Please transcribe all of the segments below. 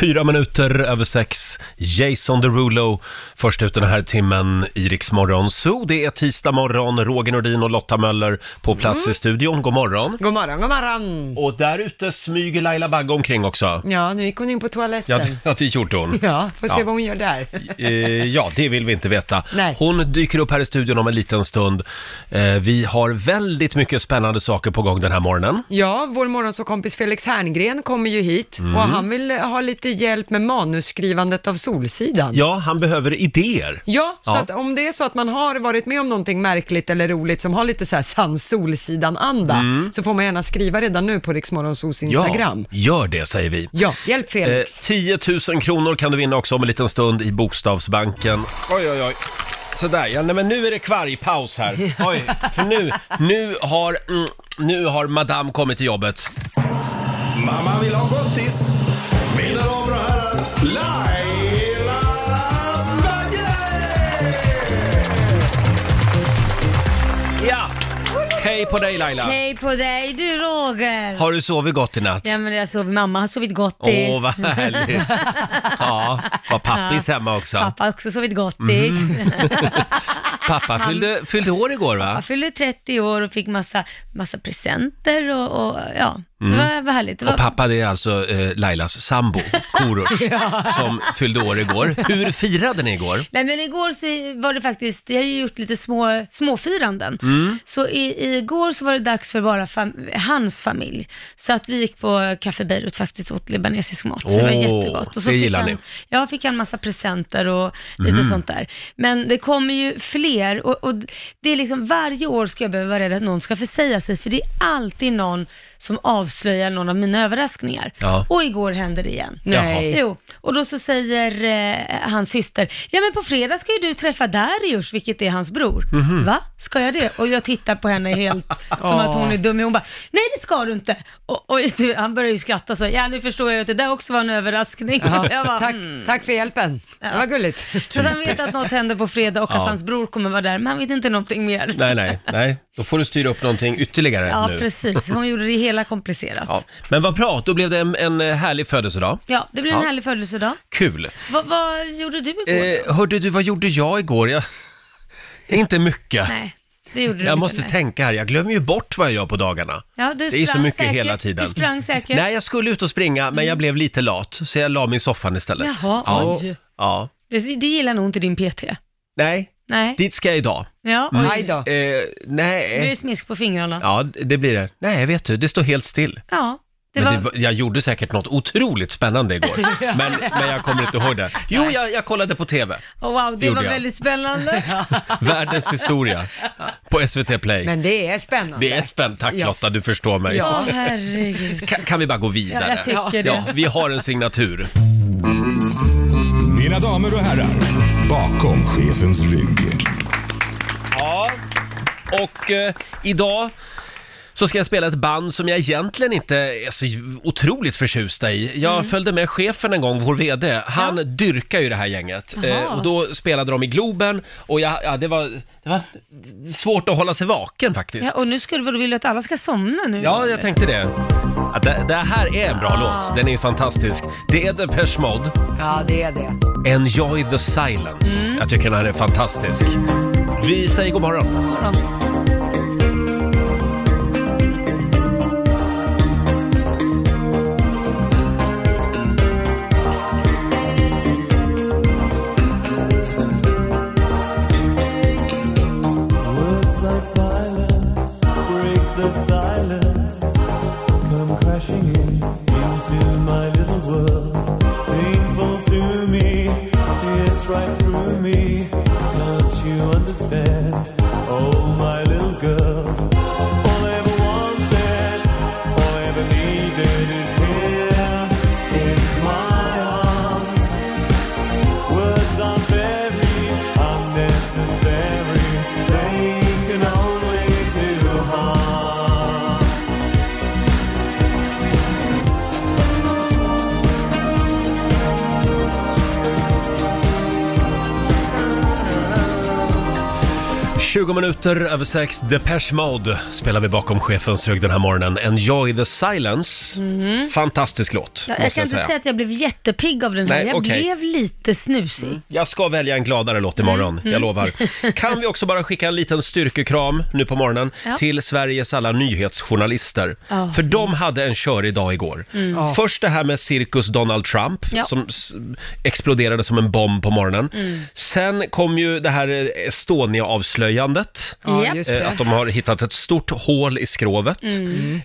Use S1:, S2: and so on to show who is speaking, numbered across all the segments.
S1: Fyra minuter över sex. Jason Derulo först ut den här timmen i Rix Morgon Zoo. Det är tisdag morgon. Roger Nordin och Lotta Möller på plats i studion. God morgon.
S2: Mm. God morgon, god morgon.
S1: Och där ute smyger Laila Bagge omkring också.
S2: Ja, nu gick hon in på
S1: Ja,
S2: toaletten.
S1: det, ja, det gjorde hon.
S2: Ja, får se
S1: Ja.
S2: vad hon gör där.
S1: Eh, ja, det vill vi inte veta.
S2: Nej.
S1: Hon dyker upp här i studion om en liten stund. Eh, vi har väldigt mycket spännande saker på gång den här morgonen.
S2: Ja, vår morgonsåkompis Felix Herngren kommer ju hit och
S1: Mm.
S2: han vill ha lite hjälp med manusskrivandet av Solsidan.
S1: Ja, han behöver idéer.
S2: Ja, så
S1: Ja.
S2: att om det är så att man har varit med om någonting märkligt eller roligt som har lite så här sann Solsidan-anda, så får man gärna skriva redan nu på Riksmorgonsols Instagram.
S1: Mm. Ja, gör det säger vi.
S2: Ja, hjälp
S1: Eh,
S2: Felix.
S1: 10 000 kronor kan du vinna också om en liten stund i Bokstavsbanken. Oj, oj, oj. Sådär, ja, nej, men nu är det kvargpaus här. Oj, för nu, nu har, mm, nu har madame kommit till jobbet.
S3: Mamma vill ha gottis. Mina damer och herrar, Laila Bagge!
S1: Ja! Hej på dig Laila!
S4: Hej på dig du Roger!
S1: Har du sovit gott i natt?
S4: Ja men jag sov, mamma har sovit gottis.
S1: Åh, vad härligt! Ja, var pappis hemma också.
S4: Pappa har också sovit gottis.
S1: Mhm. Pappa fyllde, fyllde år igår va?
S4: Jag fyllde 30 år och fick massa, massa presenter och, och ja, det var, var härligt. Det var,
S1: Och Mm. pappa det är alltså eh, Lailas sambo, Korosh, som fyllde år igår. Hur firade ni igår?
S4: Nej men igår så var det faktiskt, jag har ju gjort lite små, småfiranden.
S1: Mm.
S4: Så i, igår så var det dags för bara fam, hans familj. Så att vi gick på Café Beirut faktiskt och åt libanesisk mat. så det var
S1: Åh,
S4: jättegott. Och så
S1: det
S4: fick
S1: gillar
S4: han,
S1: ni. Mhm.
S4: Ja, fick han massa presenter och lite sånt där. Men det kommer ju fler och, och det är liksom varje år ska jag behöva vara rädd att någon ska försäga sig. För det är alltid någon som avslöjar någon av mina överraskningar.
S1: Ja.
S4: Och igår hände det igen.
S1: Nej.
S4: Jo, och då så säger eh, hans syster, ja men på fredag ska ju du träffa Darius, vilket är hans bror.
S1: Eh, Mm. mhm.
S4: Va? Ska jag det? Och jag tittar på henne helt som att hon är dum. Hon bara, nej det ska du inte. Och, och du, han börjar ju skratta så, ja nu förstår jag ju att det där också var en överraskning. Jag bara,
S2: Tack,
S4: mm.
S2: tack för hjälpen. Det var gulligt.
S4: Så att han vet att något händer på fredag och
S1: Ja.
S4: att hans bror kommer vara där, men han vet inte någonting mer.
S1: Nej, nej, nej. Då får du styra upp någonting ytterligare
S4: Ja,
S1: nu.
S4: precis. Hon gjorde det hela komplicerat.
S1: Ja.
S4: Ja,
S1: Men vad bra, då blev det en, en eh, härlig födelsedag.
S4: det blir
S1: Ja.
S4: en härlig födelsedag.
S1: Kul.
S4: Va, vad gjorde du igår?
S1: Eh, hörde du, vad gjorde jag igår? Jag... Inte mycket.
S4: nej, det gjorde du
S1: Jag
S4: inte.
S1: måste
S4: nej.
S1: tänka här, jag glömmer ju bort vad jag gör på dagarna.
S4: Ja, du
S1: Det är så
S4: sprang
S1: mycket
S4: säkert.
S1: hela tiden.
S4: Du sprang säkert.
S1: Nej, jag skulle ut och springa, men jag blev lite lat, så jag la mig i soffan istället.
S4: Mm. Jaha,
S1: ja.
S4: oj.
S1: Ja.
S4: Det, det gillar nog inte din PT.
S1: Eh. Nej,
S4: Nej.
S1: dit ska jag idag.
S4: Ja, oj.
S2: Aj då.
S1: Eh,
S4: Blir
S1: nej.
S4: det smisk på fingrarna?
S1: Ja, det blir det. Nej, vet du, det står helt still.
S4: Ja, det
S1: men
S4: var...
S1: det var, jag gjorde säkert något otroligt spännande igår, men, men jag kommer inte ihåg det. Jo, jag, jag kollade på TV,
S4: oh, wow, det
S1: gjorde
S4: var
S1: jag.
S4: väldigt spännande.
S1: Världens historia, på SVT Play.
S2: Men det är spännande.
S1: det är spännande. Tack
S2: Ja.
S1: Lotta, du förstår mig.
S4: Ja, herregud.
S1: Kan, kan vi bara gå
S4: Ja,
S1: vidare?
S4: jag tycker
S1: Ja,
S4: det.
S1: vi har en signatur.
S3: Mina damer och herrar, bakom chefens rygg.
S1: Ja, och eh, idag så ska jag spela ett band som jag egentligen inte är så otroligt förtjust i. Jag
S4: Mm.
S1: följde med chefen en gång, vår VD. Han dyrkar ju det här gänget. Eh, och då spelade de i Globen och jag, ja, det, var, det var svårt att hålla sig vaken faktiskt.
S4: Ja, och nu skulle du vilja att alla ska somna nu?
S1: Ja, jag tänkte det. Att det, det här är en bra låt. Den är ju fantastisk. Det är Depeche Mode,
S2: Ja, det är det.
S1: Enjoy the Silence.
S4: Mm.
S1: Jag tycker den här är fantastisk. Vi säger god morgon.
S5: Words like violence break the silence, come crashing in into my little world. Painful to me, pierce right through me. Can't you understand? Oh, my
S1: 20 minuter över sex, Depeche Mode spelar vi bakom chefens rygg den här morgonen. Enjoy the silence. Fantastisk låt,
S4: Mhm. Mm. Jag,
S1: måste
S4: jag kan inte
S1: säga.
S4: säga att jag blev jättepigg av den här.
S1: Nej,
S4: jag
S1: okej.
S4: blev lite snusig.
S2: Mm.
S1: Jag ska välja en gladare låt
S4: Mm.
S1: imorgon, jag lovar. Kan vi också bara skicka en liten styrkekram nu på morgonen
S4: Ja.
S1: till Sveriges alla nyhetsjournalister.
S4: Ja. Mm.
S1: För de hade en körig dag igår. Först det här med cirkus Donald Trump
S4: Ja. Mm.
S1: som s- exploderade som en bomb på morgonen. Sen kom ju det här eh, Estonia-avslöjandet.
S2: Ja,
S4: Japp.
S2: just
S1: Eh,
S2: det.
S1: Att de har hittat ett stort hål i skrovet.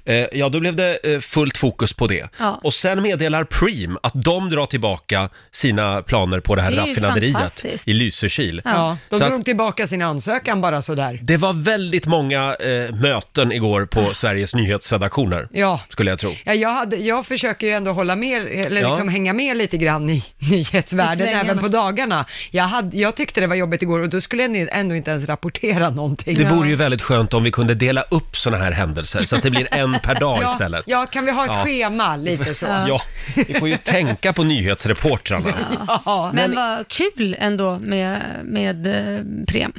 S1: Eh, Ja, då blev det eh, fullt fokus på det.
S4: Mm. Ja.
S1: Och sen meddelar Preem att de drar tillbaka sina planer på det här
S4: Det är ju
S1: raffinaderiet
S4: fantastiskt.
S1: i Lysekil.
S2: Ja, de
S1: Så att-
S2: drog tillbaka sin ansökan bara sådär.
S1: Det var väldigt många eh, möten igår på Sveriges nyhetsredaktioner,
S2: Ja.
S1: skulle jag tro.
S2: Ja, jag, hade, jag försöker ju ändå hålla med, eller
S1: Ja.
S2: liksom hänga med lite grann i
S4: I
S2: nyhetsvärlden
S4: svängarna.
S2: även på dagarna. Jag, hade, jag tyckte det var jobbigt igår och då skulle jag ni- ändå inte ens rapportera någonting.
S1: Det vore ju väldigt skönt om vi kunde dela upp såna här händelser så att det blir en per dag
S2: ja,
S1: istället.
S2: Ja, kan vi ha ett
S1: Ja.
S2: schema lite så?
S1: Ja, vi får ju tänka på nyhetsreportrarna.
S2: Ja.
S4: Men, vad kul ändå med, med eh, Prem.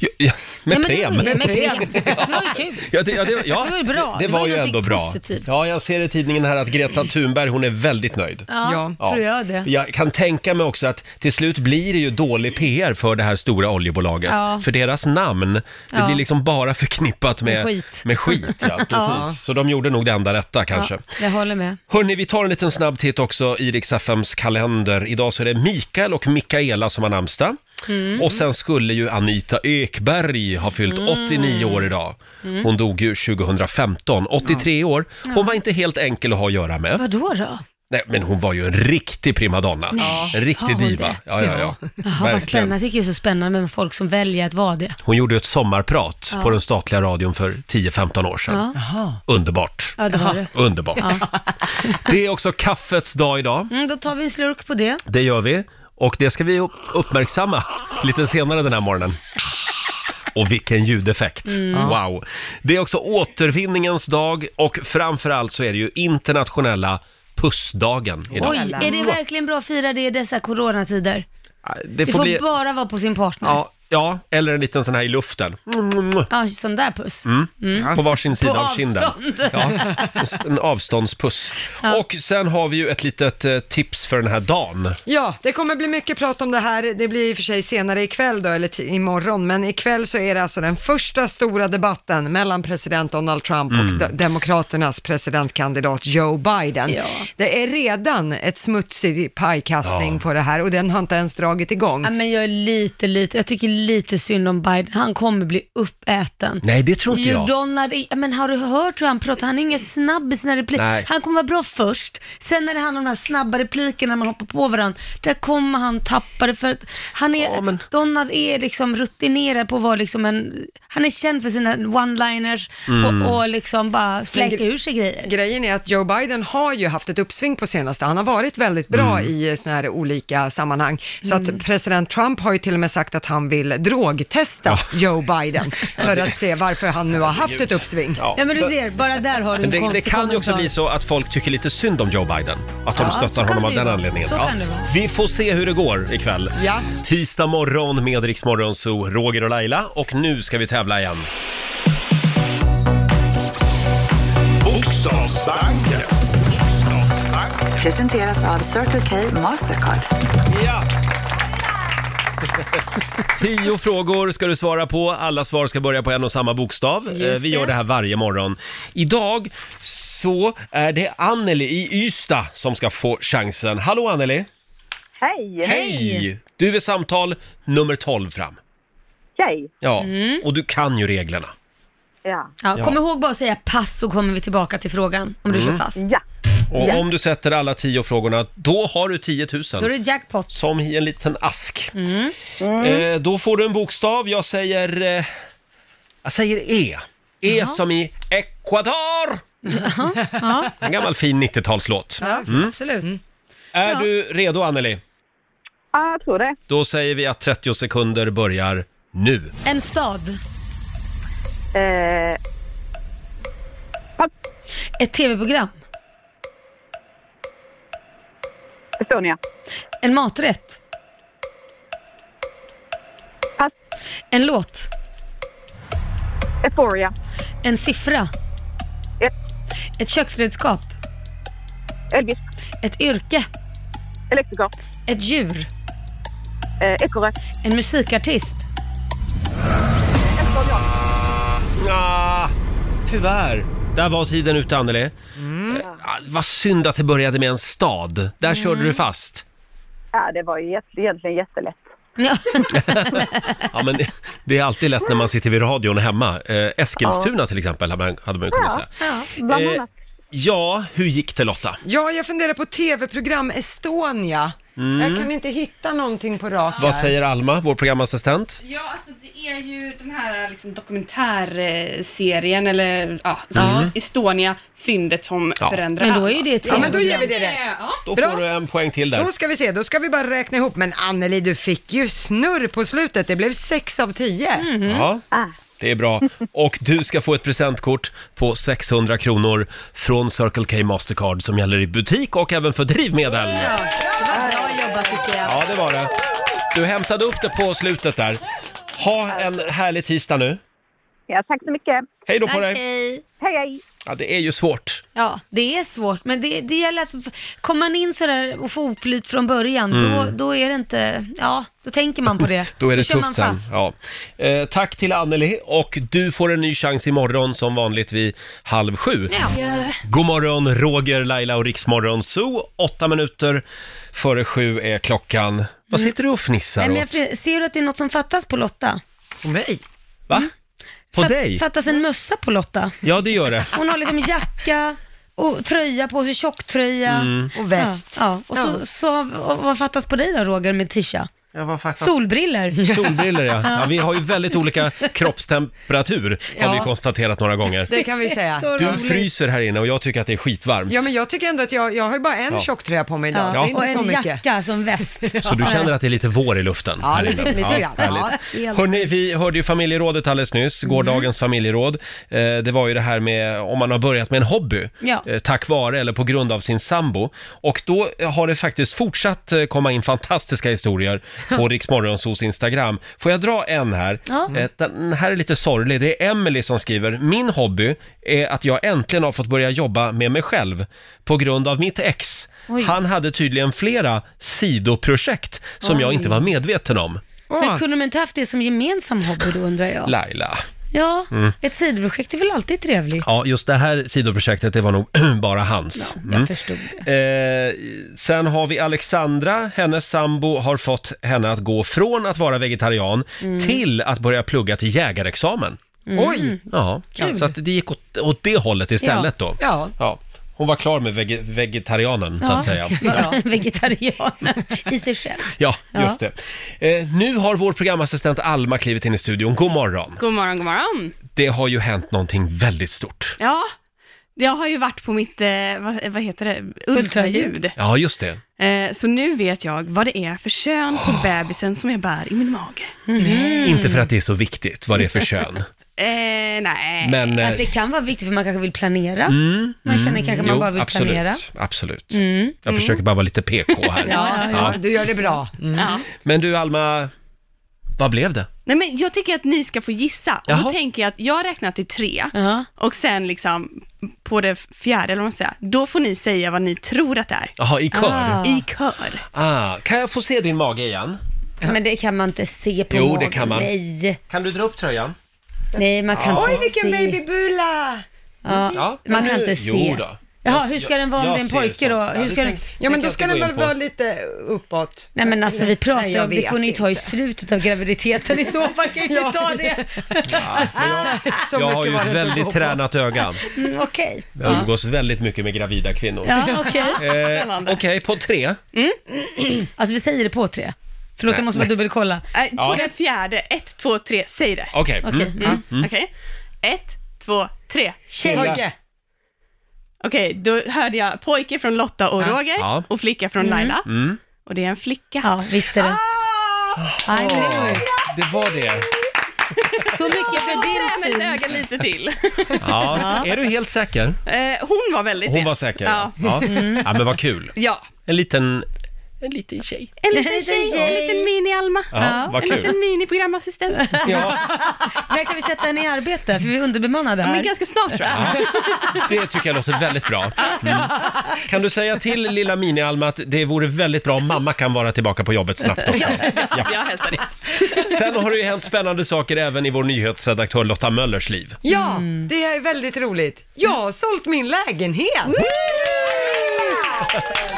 S1: Ja, ja,
S4: Ja,
S1: med
S4: men det var
S1: Preem.
S4: ju- Med Prem. Det var ju kul.
S1: Ja, det, ja, det, ja,
S4: Det var ju bra.
S1: Det,
S4: Det
S1: var,
S4: var
S1: ju
S4: någonting
S1: ändå bra.
S4: positivt.
S1: Ja, jag ser i tidningen här att Greta Thunberg, hon är väldigt nöjd.
S4: Ja,
S1: Ja.
S4: tror jag det.
S1: Jag kan tänka mig också att till slut blir det ju dålig PR för det här stora oljebolaget.
S4: Ja.
S1: För deras namn, det
S4: Ja.
S1: blir liksom bara förknippat med,
S4: Med skit.
S1: Med skit ja, precis. Så de gjorde nog det enda rätta kanske.
S4: Ja, jag håller med.
S1: Hörni, vi tar en liten snabb titt också i Rix FMs kalender. Idag så är det Mikael och Mikaela som har namnsdag.
S4: Mm.
S1: Och sen skulle ju Anita Ekberg ha fyllt 89 år idag.
S4: Mm.
S1: Hon dog ju 2015, 83 år. Hon var inte helt enkel att ha att göra med.
S4: Vadå då?
S1: Nej, men hon var ju en riktig primadonna. En
S4: Har
S1: riktig
S4: hon
S1: diva.
S4: det?
S1: Ja, ja, ja.
S4: Jaha, vad spännande. Jag tycker det är så spännande med folk som väljer att vara det.
S1: Hon gjorde ju ett sommarprat på den statliga radion för 10-15 år sedan. Underbart.
S4: Ja, det har du.
S1: Underbart. Det är också kaffets dag idag.
S4: Mm, då tar vi en slurk på det.
S1: Det gör vi. Och det ska vi upp- uppmärksamma lite senare den här morgonen. Och vilken ljudeffekt. Wow. Det är också återvinningens dag och framförallt så är det ju internationella pussdagen idag.
S4: Oj, är det verkligen bra att fira det i dessa coronatider? Det får
S1: bli-
S4: bara vara på sin partner. Ja,
S1: Ja, ja, eller en liten sån här i luften. Mm.
S4: sån där puss.
S1: På varsin sida
S4: Mm. På
S1: av kinden.
S4: avstånd.
S1: Ja, en avståndspuss. Och sen har vi ju ett litet eh, tips för den här dagen.
S2: Ja, det kommer bli mycket prat om det här. Det blir i och för sig senare ikväll då, eller t- imorgon, men ikväll så är det alltså den första stora debatten mellan president Donald Trump
S1: Mm.
S2: och de- Demokraternas presidentkandidat Joe Biden.
S4: Ja.
S2: Det är redan ett smutsig pajkastning
S1: Ja.
S2: på det här och den har inte ens dragit igång.
S4: Ja, men jag är lite, lite, jag tycker lite synd om Biden. Han kommer bli uppäten.
S1: Nej, det tror inte
S4: Jo,
S1: jag.
S4: Donald, är- men har du hört hur han pratar? Han är ingen snabb i sina
S1: Nej.
S4: repliker. Han kommer vara bra först, sen när det handlar om de här snabba replikerna när man hoppar på varandra, där kommer han tappa det för att han är,
S1: Ja, men-
S4: Donald är liksom rutinerad på att vara liksom en, han är känd för sina one-liners
S1: Mm.
S4: och, och liksom bara fläka ur sig grejer.
S2: Grejen är att Joe Biden har ju haft ett uppsving på senaste. Han har varit väldigt bra
S1: Mm.
S2: i såna här olika sammanhang. Så att president Trump har ju till och med sagt att han vill drogtesta Joe Biden för att se varför han nu har haft ett uppsving.
S4: Ja men du ser, bara där har du en
S1: Men det, det
S4: konstig
S1: kan ju också
S4: kommentar.
S1: bli så att folk tycker lite synd om Joe Biden. Att de
S4: Ja, så
S1: stöttar
S4: kan
S1: honom av
S4: det
S1: den
S4: vara.
S1: anledningen.
S4: Så kan det vara.
S1: Vi får se hur det går ikväll.
S2: Ja.
S1: Tisdag morgon med Rix Morgon, så Roger och Laila. Och nu ska vi tävla igen.
S3: Bokstavsbanken.
S6: Presenteras av Circle K Mastercard.
S1: Ja! Tio frågor ska du svara på. Alla svar ska börja på en och samma bokstav. Eh, Vi gör det här varje morgon. Idag så är det Anneli i Ystad som ska få chansen. Hallå Anneli!
S7: Hej!
S1: Hej! Du är samtal nummer 12 fram.
S7: Hej!
S1: Ja,
S4: Mm.
S1: och du kan ju reglerna.
S7: Ja.
S4: Ja, kom ihåg bara att säga pass så kommer vi tillbaka till frågan om du kör fast.
S7: Ja.
S1: Mm. Och
S7: Ja.
S1: om du sätter alla tio frågorna, då har du 10
S4: Då är
S1: 000.
S4: det jackpot. Mm.
S1: Som i en liten ask.
S7: Mm.
S1: Eh, då får du en bokstav. Jag säger... Eh, jag säger E. E som i Ecuador! En gammal fin 90-talslåt.
S4: Ja, absolut.
S1: Är du redo, Anneli?
S7: ja, jag tror det.
S1: Då säger vi att 30 sekunder börjar nu.
S4: En stad.
S7: Eh,
S4: Ett tv-program.
S7: Estonia.
S4: En maträtt.
S7: Pass.
S4: En låt.
S7: Euphoria.
S4: En siffra.
S7: Ett.
S4: Ett köksredskap.
S7: Elvis.
S4: Ett yrke.
S7: Elektriker.
S4: Ett djur.
S7: Eh, Ekorre.
S4: En musikartist.
S7: Elton John.
S1: Ah, tyvärr. Där var tiden ute, Anneli.
S2: Mm.
S1: Eh, ah, Vad synd att det började med en stad. Där körde du fast.
S7: Ja, Äh, det var ju jätte, egentligen jättelätt.
S4: Ja.
S1: Ja, men det är alltid lätt när man sitter vid radion hemma. Eh, Eskilstuna till exempel, hade man, hade man ju kunnat säga.
S7: Bland
S1: Eh,
S7: annat.
S1: ja, hur gick det Lotta?
S2: Ja, jag funderar på tv-program Estonia. Jag kan inte hitta någonting på rak
S1: Mm. Vad
S2: här.
S1: säger Alma, vår programassistent?
S8: Ja, alltså det är ju den här liksom, dokumentärserien, eller ja, så Estonia, fyndet som
S1: Mm. Ja.
S8: förändrar
S4: Men då är
S8: allt.
S4: ju det ett
S2: Ja, men då
S4: tv-program.
S2: ger vi det rätt.
S8: Ja.
S1: Då
S2: Bra.
S1: får du en poäng till där.
S2: Då ska vi se, då ska vi bara räkna ihop. Men Anneli, du fick ju snurr på slutet. Det blev 6 av 10.
S4: Mhm.
S1: Ja,
S7: Ah.
S1: det är bra. Och du ska få ett presentkort på 600 kronor från Circle K Mastercard som gäller i butik och även för drivmedel.
S4: Bra jobbat tycker jag.
S1: Ja, det var det. Du hämtade upp det på slutet där. Ha en härlig tisdag nu.
S7: Ja, tack så mycket.
S1: Hej då på
S4: Tack,
S1: dig!
S4: hej.
S7: Hej, hej.
S1: Ja, det är ju svårt.
S4: Ja, det är svårt, men det, det gäller att komma man in sådär och få oflyt från början, då, då är det inte, ja, då tänker man på det.
S1: Mm. Då är det
S4: kör man
S1: tufft sen.
S4: fast.
S1: Ja. Eh, tack till Anneli och du får en ny chans imorgon som vanligt vid halv sju.
S4: Ja.
S1: God morgon, Roger, Laila och Riksmorgon Zoo. Åtta minuter före sju är klockan. Vad sitter du och
S4: Mm. Nej,
S1: fnissar
S4: men
S1: åt?
S4: jag, fri- ser du att det är något som fattas på Lotta?
S2: På mig?
S1: Va? På
S4: Fatt-
S1: dig?
S4: Fattas en mössa på Lotta.
S1: Ja, det gör det.
S4: Hon har liksom jacka och tröja på sig, tjocktröja.
S1: Mm.
S2: Och väst.
S4: Ja, ja. och så, så och vad fattas på dig då Roger med tisha?
S2: Jag var faktiskt...
S4: Solbriller.
S1: Solbriller, ja. ja. Vi har ju väldigt olika kroppstemperatur, har
S2: Ja.
S1: vi konstaterat några gånger.
S2: Det kan vi säga.
S4: Så
S1: Du
S4: roligt.
S1: fryser här inne och jag tycker att det är skitvarmt.
S2: Ja, men jag tycker ändå att jag, jag har ju bara en
S1: Ja.
S2: tjocktröja på mig idag.
S4: Ja.
S2: Det är
S4: Och
S2: inte så
S4: en
S2: mycket.
S4: jacka som väst.
S1: Så du känner att det är lite vår i luften?
S2: Ja,
S1: här
S2: lite-
S1: inne?
S2: lite grann. Ja,
S1: härligt.
S4: helt.
S1: Hörrni, vi hörde ju familjerådet alldeles nyss,
S4: Mhm.
S1: gårdagens familjeråd. Eh, det var ju det här med om man har börjat med en hobby,
S4: Ja.
S1: eh, tack vare eller på grund av sin sambo. Och då har det faktiskt fortsatt eh, komma in fantastiska historier på Riksmorgonsos Instagram. Får jag dra en här?
S4: Ja.
S1: Eh, den här är lite sorglig. Det är Emily som skriver, min hobby är att jag äntligen har fått börja jobba med mig själv på grund av mitt ex.
S4: Oj.
S1: Han hade tydligen flera sidoprojekt som jag inte var medveten om.
S4: Men
S2: Åh,
S4: kunde de inte haft det som gemensam hobby då undrar jag?
S1: Laila.
S4: Ja,
S1: Mm.
S4: ett sidoprojekt är väl alltid trevligt?
S1: Ja, just det här sidoprojektet, det var nog bara hans. Mm.
S4: Jag förstod det.
S1: Eh, sen har vi Alexandra, hennes sambo har fått henne att gå från att vara vegetarian
S4: Mm.
S1: till att börja plugga till jägarexamen.
S2: Oj!
S1: Ja,
S4: Kul.
S1: så att det gick åt, åt det hållet istället då.
S2: Ja.
S1: Hon var klar med vege- vegetarianen, Mm, så
S4: Ja.
S1: att säga.
S4: Vegetarianen i sig själv.
S1: Ja, just det. Eh, nu har vår programassistent Alma klivit in i studion. God morgon!
S8: God morgon, god morgon.
S1: Det har ju hänt någonting väldigt stort.
S8: Ja, jag har ju varit på mitt, eh, vad, vad heter det, ultraljud.
S1: Ja, just det.
S8: Eh, så nu vet jag vad det är för kön på bebisen som jag bär i min mage.
S1: Mm.
S4: Mm.
S8: Mm.
S1: Inte för att det är så viktigt vad det är för kön.
S8: Eh, nej.
S1: Men, eh, Mm.
S4: Fast det kan vara viktigt för man kanske vill planera. man känner kanske man
S1: jo,
S4: bara vill
S1: absolut,
S4: planera. Mm.
S1: Absolut. Jag försöker bara vara lite PK här.
S4: Ja, ja. Mm.
S2: Ja, du gör det bra.
S8: ja.
S1: Men du Alma, vad blev det?
S8: nej, men jag tycker att ni ska få gissa. Och
S1: Jaha.
S8: då tänker jag att jag räknar till tre.
S4: Ja.
S8: Och sen liksom på det fjärde, eller vad man säger, då får ni säga vad ni tror att det är.
S1: Jaha, i kör. Ah.
S4: Ah.
S8: I kör.
S1: kan jag få se din mage igen?
S4: Men det kan man inte se på
S1: Jo, det
S4: magen.
S1: kan man.
S4: Nej,
S1: Kan du dra upp tröjan?
S4: Nej man kan
S2: Oj,
S4: inte se.
S2: vilken babybula!
S4: Ja.
S1: Ja,
S4: man
S1: men
S4: kan
S1: nu-
S4: inte se.
S1: Jo då.
S4: Jaha,
S1: Jag-
S4: hur ska den vara om
S1: jag
S4: det är en
S1: ser
S4: pojke
S1: sånt.
S4: då?
S1: Ja,
S4: hur
S1: det
S4: ska den...
S1: tänkte-
S2: Ja,
S1: tänkte
S2: men då
S1: jag
S2: ska
S1: inte
S2: den
S1: gå
S2: väl
S1: in på.
S2: vara lite uppåt?
S4: Nej men alltså vi pratar
S2: Nej,
S4: ju
S2: jag
S4: om, det
S2: vet
S4: får ni ta i slutet av graviditeten i så fall kan vi inte ta det.
S1: Jag
S2: Så mycket
S1: har ju
S2: var
S1: ett
S2: det inte att gå
S1: väldigt
S2: på.
S1: tränat öga.
S4: Mm, Okej.
S1: Jag umgås väldigt mycket med gravida kvinnor.
S4: Ja, okej.
S1: Eh, Okej, på tre.
S4: Alltså Mm. vi säger det på tre. Förlåt, jag måste bara dubbelkolla.
S8: Nej,
S1: Ja.
S8: Äh, På den fjärde, ett, två, tre, säg det.
S1: Okej.
S4: Okej.
S1: Mm.
S4: Mm.
S8: Okej? Ett, två, tre.
S4: Tjej.
S2: Pojke!
S8: Okej, då hörde jag pojke från Lotta och Roger
S1: Ja. Mm.
S8: och flicka från Laila. Och det är en flicka.
S4: Mm.
S8: Ah!
S4: Ja, visst är det. I knew it.
S1: Det var det.
S4: Så mycket för din
S8: Men Ah! ett
S4: syn.
S8: öga lite till.
S1: Ja. Är du helt säker?
S8: Eh, Hon var väldigt
S1: Hon
S8: det.
S1: var säker.
S8: Ja.
S1: Ja, ja. ja men vad kul.
S8: ja.
S1: En liten en liten tjej.
S9: En liten tjej, en liten mini-Alma.
S1: Ja, vad
S9: en
S1: kul.
S9: liten mini-programassistent.
S1: Ja,
S4: När kan vi sätta henne i arbete? För vi är underbemannade
S9: Men
S4: här.
S9: ganska snart tror jag.
S1: det tycker jag låter väldigt bra. Mm. Kan du säga till lilla Mini-Alma att det vore väldigt bra om mamma kan vara tillbaka på jobbet snabbt också? Ja.
S9: Jag hälsar dig.
S1: Sen har det ju hänt spännande saker även i vår nyhetsredaktör Lotta Möllers liv.
S2: Ja,
S4: Mm.
S2: det är väldigt roligt. Jag har sålt min lägenhet!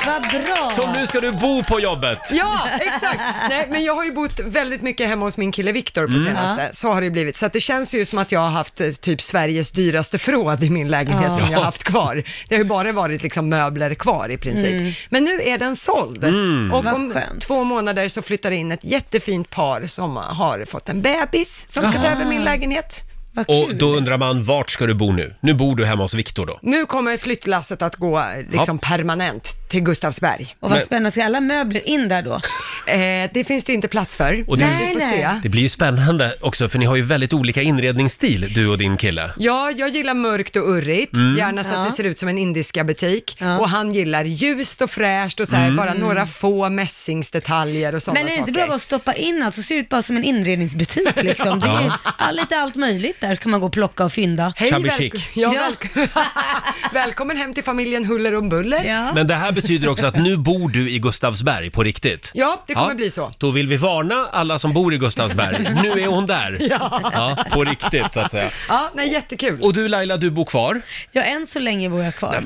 S4: Vad bra!
S1: Så nu ska du bo på jobbet!
S2: Ja, exakt! Nej, men jag har ju bott väldigt mycket hemma hos min kille Viktor
S1: Mm.
S2: på senaste, så har det blivit. Så att det känns ju som att jag har haft eh, typ Sveriges dyraste förråd i min lägenhet
S4: Ja.
S2: som jag har haft kvar. Det har ju bara varit liksom möbler kvar i princip. Men nu är den såld
S1: Mm.
S2: och
S4: Mm. Vad
S2: om
S4: skönt.
S2: två månader så flyttar det in ett jättefint par som har fått en bebis som ska ta över min lägenhet.
S4: Vad kul.
S1: Och då undrar man, vart ska du bo nu? Nu bor du hemma hos Viktor då.
S2: Nu kommer flyttlasset att gå eh, liksom permanent till Gustavsberg.
S4: Och vad
S1: Men-
S4: spännande, ska alla möbler in där då?
S2: Eh, det finns det inte plats för.
S1: Och det-
S2: men vi får
S4: Nej, nej.
S2: se.
S1: Det blir ju spännande också, för ni har ju väldigt olika inredningsstil, du och din kille.
S2: Ja, jag gillar mörkt och urrigt,
S1: Mm.
S2: gärna så att det
S4: Ja.
S2: ser ut som en indiska butik.
S4: Ja.
S2: Och han gillar ljust och fräscht och så här,
S1: Mm.
S2: bara några få mässingsdetaljer och sådana
S4: Men är
S2: saker.
S4: det inte bra att stoppa in allt så ser det ut bara som en inredningsbutik liksom. Det är all, lite allt möjligt där kan man gå och plocka och fynda.
S2: Hej,
S1: Shabby
S2: välko-
S1: chic.
S2: ja,
S4: Ja.
S2: välko- välkommen hem till familjen Huller om Buller. Ja,
S4: Ja.
S1: Men det här betyder också att nu bor du i Gustavsberg på riktigt.
S2: det kommer bli så.
S1: Då vill vi varna alla som bor i Gustavsberg. Nu är hon där. Ja. på riktigt så att säga.
S2: Ja, nej, jättekul.
S1: Och du Laila, du bor kvar.
S4: ja, än så länge bor jag kvar.
S1: Nej,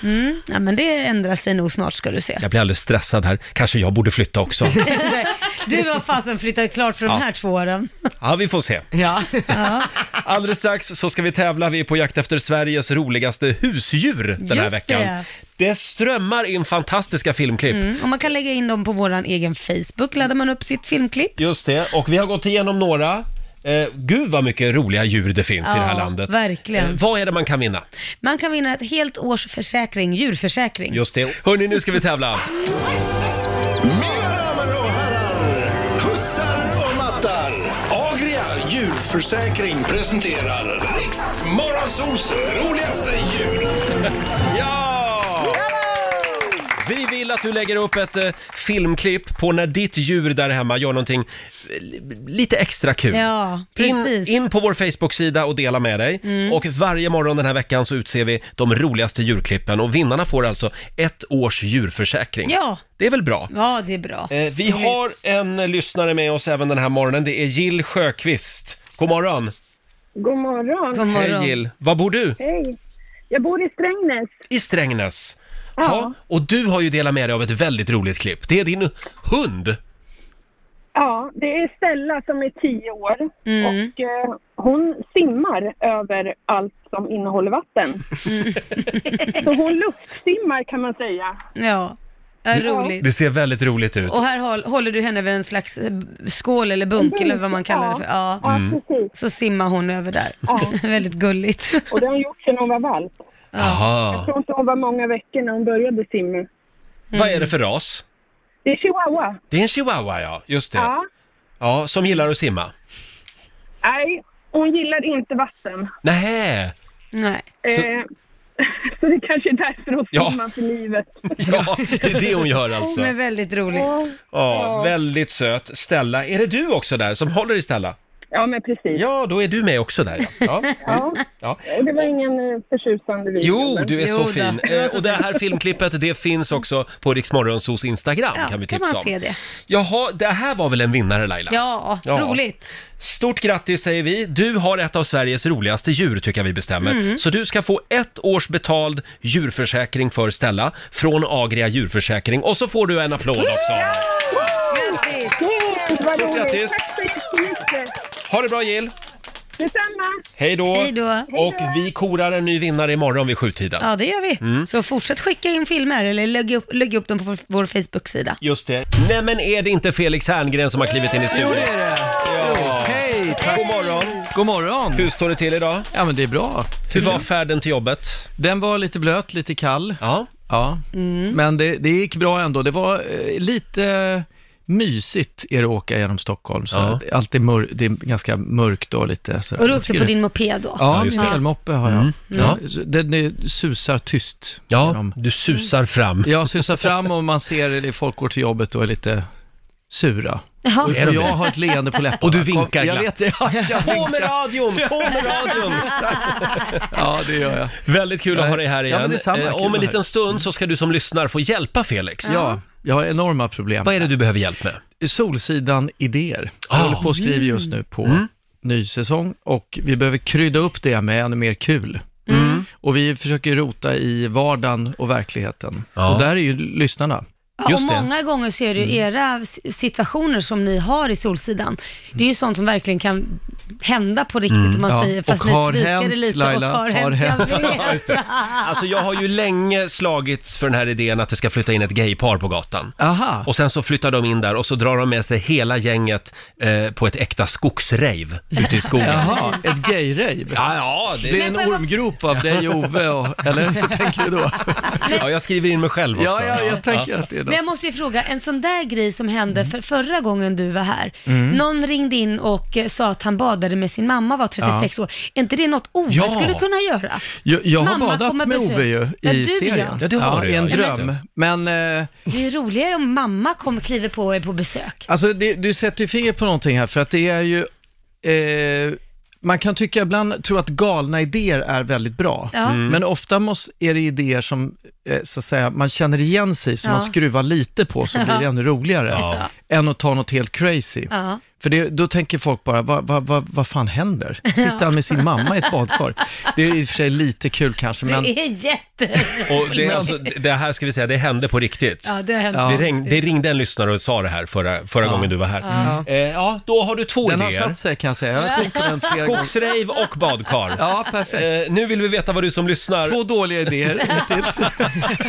S1: men,
S4: Mm. Ja, men det ändrar sig nog snart ska du se.
S1: jag blir alldeles stressad här. Kanske jag borde flytta också.
S4: Du har fasen flyttat klart för
S1: Ja.
S4: de här två åren.
S1: Ja, vi får se.
S2: Ja.
S1: Alldeles strax så ska vi tävla. Vi är på jakt efter Sveriges roligaste husdjur den här
S4: Just
S1: veckan. Det.
S4: det.
S1: strömmar in fantastiska filmklipp.
S4: Mm. Och man kan lägga in dem på våran egen Facebook, laddar man upp sitt filmklipp.
S1: Just det, och vi har gått igenom några. Eh, gud vad mycket roliga djur det finns i det här
S4: Ja,
S1: landet. Eh,
S4: verkligen.
S1: vad är det man kan vinna?
S4: Man kan vinna ett helt års försäkring, djurförsäkring.
S1: Just det. Hörni, nu ska vi tävla.
S3: Mina damer och herrar, hussar och mattar. Agria djurförsäkring presenterar Riks Morgonzoos roligaste djur.
S1: Ja! Vi vill att du lägger upp ett eh, filmklipp på när ditt djur där hemma gör någonting eh, li- lite extra kul.
S4: Ja,
S1: in,
S4: precis. Mm.
S1: in på vår Facebook-sida och dela med dig. Och varje morgon den här veckan så utser vi de roligaste djurklippen och vinnarna får alltså ett års djurförsäkring.
S4: Ja.
S1: Det är väl bra?
S4: Ja, det är bra.
S1: Eh, vi har en lyssnare med oss även den här morgonen. Det är Jill Sjöqvist. God morgon!
S7: God morgon.
S4: God morgon.
S1: Hej Jill! Var bor du?
S7: Hej. Jag bor i Strängnäs.
S1: I Strängnäs. Ja. och du har ju delat med dig av ett väldigt roligt klipp. Det är din hund.
S7: Ja, det är Stella som är tio år
S4: Mm.
S7: och eh, hon simmar över allt som innehåller vatten.
S4: Mm.
S7: Så hon luftsimmar kan man säga.
S4: Ja, är roligt.
S1: Det ser väldigt roligt ut.
S4: Och här håll- håller du henne vid en slags eh, skål eller bunk eller vad man kallar det för. Ja.
S7: Ja, precis.
S4: Så simmar hon över där.
S7: Ja.
S4: Väldigt gulligt.
S7: Och det har hon gjort sedan hon var valp. Jag
S1: Aha.
S7: tror inte hon var många veckor när hon började simma.
S1: Vad är det för ras?
S7: Det är chihuahua.
S1: Det är en chihuahua, ja. Just det. Ja.
S7: Ja.
S1: som gillar att simma.
S7: Nej, hon gillar inte vatten.
S1: Nähä!
S4: Nej.
S1: Så-
S7: Eh, så det kanske är därför hon
S1: Ja.
S7: simmar för livet.
S1: Ja, det är det hon gör alltså.
S4: Hon är väldigt rolig.
S1: Ja, väldigt söt. Stella, är det du också där som håller i Stella?
S7: Ja, men precis.
S1: Ja, då är du med också där. Ja. Ja.
S7: Ja.
S1: Ja.
S7: Och det var ingen eh, förtjusande video.
S1: Jo,
S7: men-
S1: du är så
S4: Jo då.
S1: fin.
S4: Du var
S1: Eh,
S4: så
S1: och det
S4: fin.
S1: här filmklippet, det finns också på Riksmorgonsos Instagram
S4: Ja,
S1: kan vi
S4: kan
S1: tipsa
S4: man se
S1: om.
S4: det.
S1: Jaha, det här var väl en vinnare Laila?
S4: Ja,
S1: Ja.
S4: roligt.
S1: Stort grattis säger vi. Du har ett av Sveriges roligaste djur tycker jag vi bestämmer.
S4: Mm.
S1: Så du ska få ett års betald djurförsäkring för Stella från Agria djurförsäkring. Och så får du en applåd också.
S4: Grattis.
S7: Grattis, vad
S1: Stort
S7: roligt.
S1: grattis.
S7: Tack så jättemycket!
S1: Ha det bra Jill!
S7: Detsamma!
S1: Hej då!
S4: Hej då.
S1: Och vi korar en ny vinnare imorgon vid sjutiden. Mm.
S4: Ja, det gör vi. Så fortsätt skicka in filmer eller lägg upp, lägg upp dem på vår- vår Facebook-sida.
S1: Just det. Nej men är det inte Felix Herngren som har klivit in i
S10: Jo,
S1: studion?
S10: det är det.
S1: Ja.
S10: Hej!
S1: God morgon!
S10: God morgon.
S1: Hur står det till idag?
S10: Ja, men det är bra.
S1: Hur var färden till jobbet?
S10: Den var lite blöt, lite kall.
S1: Ja.
S4: Mm.
S10: Ja, men det, det gick bra ändå. Det var eh, lite mysigt är det att åka genom Stockholm. Så
S1: Ja.
S10: det, är alltid mör- det är ganska mörkt och lite sådär.
S4: Och du
S10: Jag
S4: åkte
S10: tycker
S4: på
S10: det-
S4: din moped då?
S10: Ja, min elmoppe har jag.
S1: Mm. Ja.
S10: Ja. så Den är- susar tyst.
S1: Ja,
S10: du
S1: susar fram.
S10: Jag susar fram och man ser det, folk går till jobbet och är lite sura.
S1: Jaha.
S10: Och
S1: Är de
S10: jag
S1: det?
S10: har ett leende på läpparna.
S1: Och du vinkar
S10: jag
S1: glatt.
S10: vet, det. ja, jag
S1: På
S10: vinkar.
S1: med radion, på med radion!
S10: Ja, det gör jag.
S1: Väldigt kul att ha dig här
S10: Ja, men
S1: igen.
S10: detsamma.
S1: Eh,
S10: Kul att
S1: Om en
S10: vara
S1: liten
S10: här.
S1: stund så ska du som lyssnar få hjälpa Felix.
S10: Ja, jag har enorma problem.
S1: Vad är det du behöver hjälp med?
S10: Solsidan idéer. Jag
S1: Ah.
S10: håller på och skriver just nu på
S1: Mm.
S10: ny säsong och vi behöver krydda upp det med ännu mer kul.
S4: Mm.
S10: Och vi försöker rota i vardagen och verkligheten.
S1: Ja.
S10: Och där är ju lyssnarna.
S4: Ja, och många gånger så är det ju era s- situationer som ni har i Solsidan. Det är ju sånt som verkligen kan hända på riktigt
S10: Mm.
S4: om man
S10: Ja,
S4: säger,
S10: och
S4: fast ni
S10: har
S4: tweakar det
S10: hänt,
S4: lite
S10: Laila,
S4: och har,
S10: har
S4: hänt. jag
S10: hänt.
S4: vet.
S1: Ja, just det. Alltså jag har ju länge slagits för den här idén att det ska flytta in ett gaypar på gatan.
S10: Aha.
S1: Och sen så flyttar de in där och så drar de med sig hela gänget eh, på ett äkta skogsrejv ute i skogen.
S10: Jaha, ett gayrejv?
S1: Ja, ja. Det,
S10: Blir det en
S1: Men får jag-
S10: ormgrop av dig och Ove, och, eller hur tänker du då?
S1: Ja, jag skriver in mig själv också.
S10: Ja, ja, jag tänker att det är
S4: Men jag måste ju fråga, en sån där grej som hände för förra gången du var här.
S10: Mm.
S4: Någon ringde in och eh, sa att han badade med sin mamma, var 36 år. Är inte det något Ove
S10: Ja.
S4: skulle kunna göra?
S10: Jag, jag har
S4: Mamma kommer
S10: badat med
S4: besöka-
S10: Ove ju
S4: Ja,
S10: i
S4: du, ja.
S10: serien.
S4: Ja, det har du,
S10: I
S4: ja,
S10: en
S4: just det.
S10: dröm. Men eh,
S4: Det är ju roligare om mamma kommer kliver på och är på besök.
S10: alltså, det, du sätter ju fingret på någonting här, för att det är ju... Eh, man kan tycka ibland, tro att galna idéer är väldigt bra,
S4: Ja. Mm.
S10: men ofta måste, är det idéer som eh, så att säga, man känner igen sig i, som
S4: Ja.
S10: man skruvar lite på, så blir det
S4: Ja.
S10: ännu roligare,
S4: Ja.
S10: än att ta något helt crazy.
S4: Ja.
S10: För det, då tänker folk bara, vad va, va, vad fan händer? Sitter han med sin mamma i ett badkar? Det är i och för sig lite kul kanske, men...
S4: Det är jätte...
S1: Och det, är alltså, det här ska vi säga, det hände på riktigt.
S4: Ja, det hände.
S1: Det, ring, det ringde en lyssnare och sa det här förra, förra gången du var här.
S10: Ja.
S1: Eh, ja, då har du två
S10: Den har
S1: idéer.
S10: satt sig kan jag säga. Jag har tänkt på den flera gånger.
S1: Skogsrejv och badkar.
S10: Ja, perfekt.
S1: Eh, nu vill vi veta vad du som lyssnar...
S10: Två dåliga idéer hittills.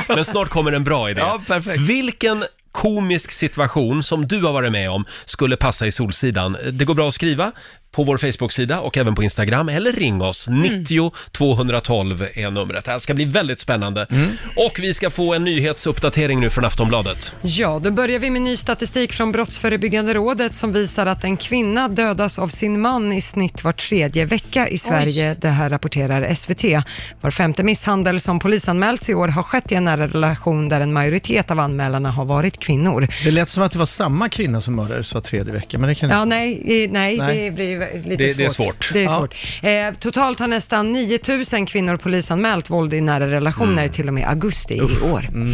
S1: Men snart kommer en bra idé.
S10: Ja, perfekt.
S1: Vilken komisk situation som du har varit med om skulle passa i Solsidan? Det går bra att skriva på vår Facebook-sida och även på Instagram eller ring oss. 90 212 är numret. Det här ska bli väldigt spännande.
S10: Mm.
S1: Och vi ska få en nyhetsuppdatering nu från Aftonbladet.
S2: Ja, då börjar vi med ny statistik från Brottsförebyggande rådet som visar att en kvinna dödas av sin man i snitt var tredje vecka i Sverige. Det här rapporterar SVT. Var femte misshandel som polisanmälts i år har skett i en nära relation där en majoritet av anmälarna har varit kvinnor.
S10: Det lät som att det var samma kvinna som mördades var tredje vecka, men det kan
S2: Ja, nej, i- nej,
S10: Nej.
S2: det blir lite
S10: Det-
S2: svårt.
S10: det är svårt.
S2: Det är
S10: Ja.
S2: svårt. Eh, totalt har nästan 9 000 kvinnor polisanmält våld i nära relationer till och med augusti i år.
S10: Mm,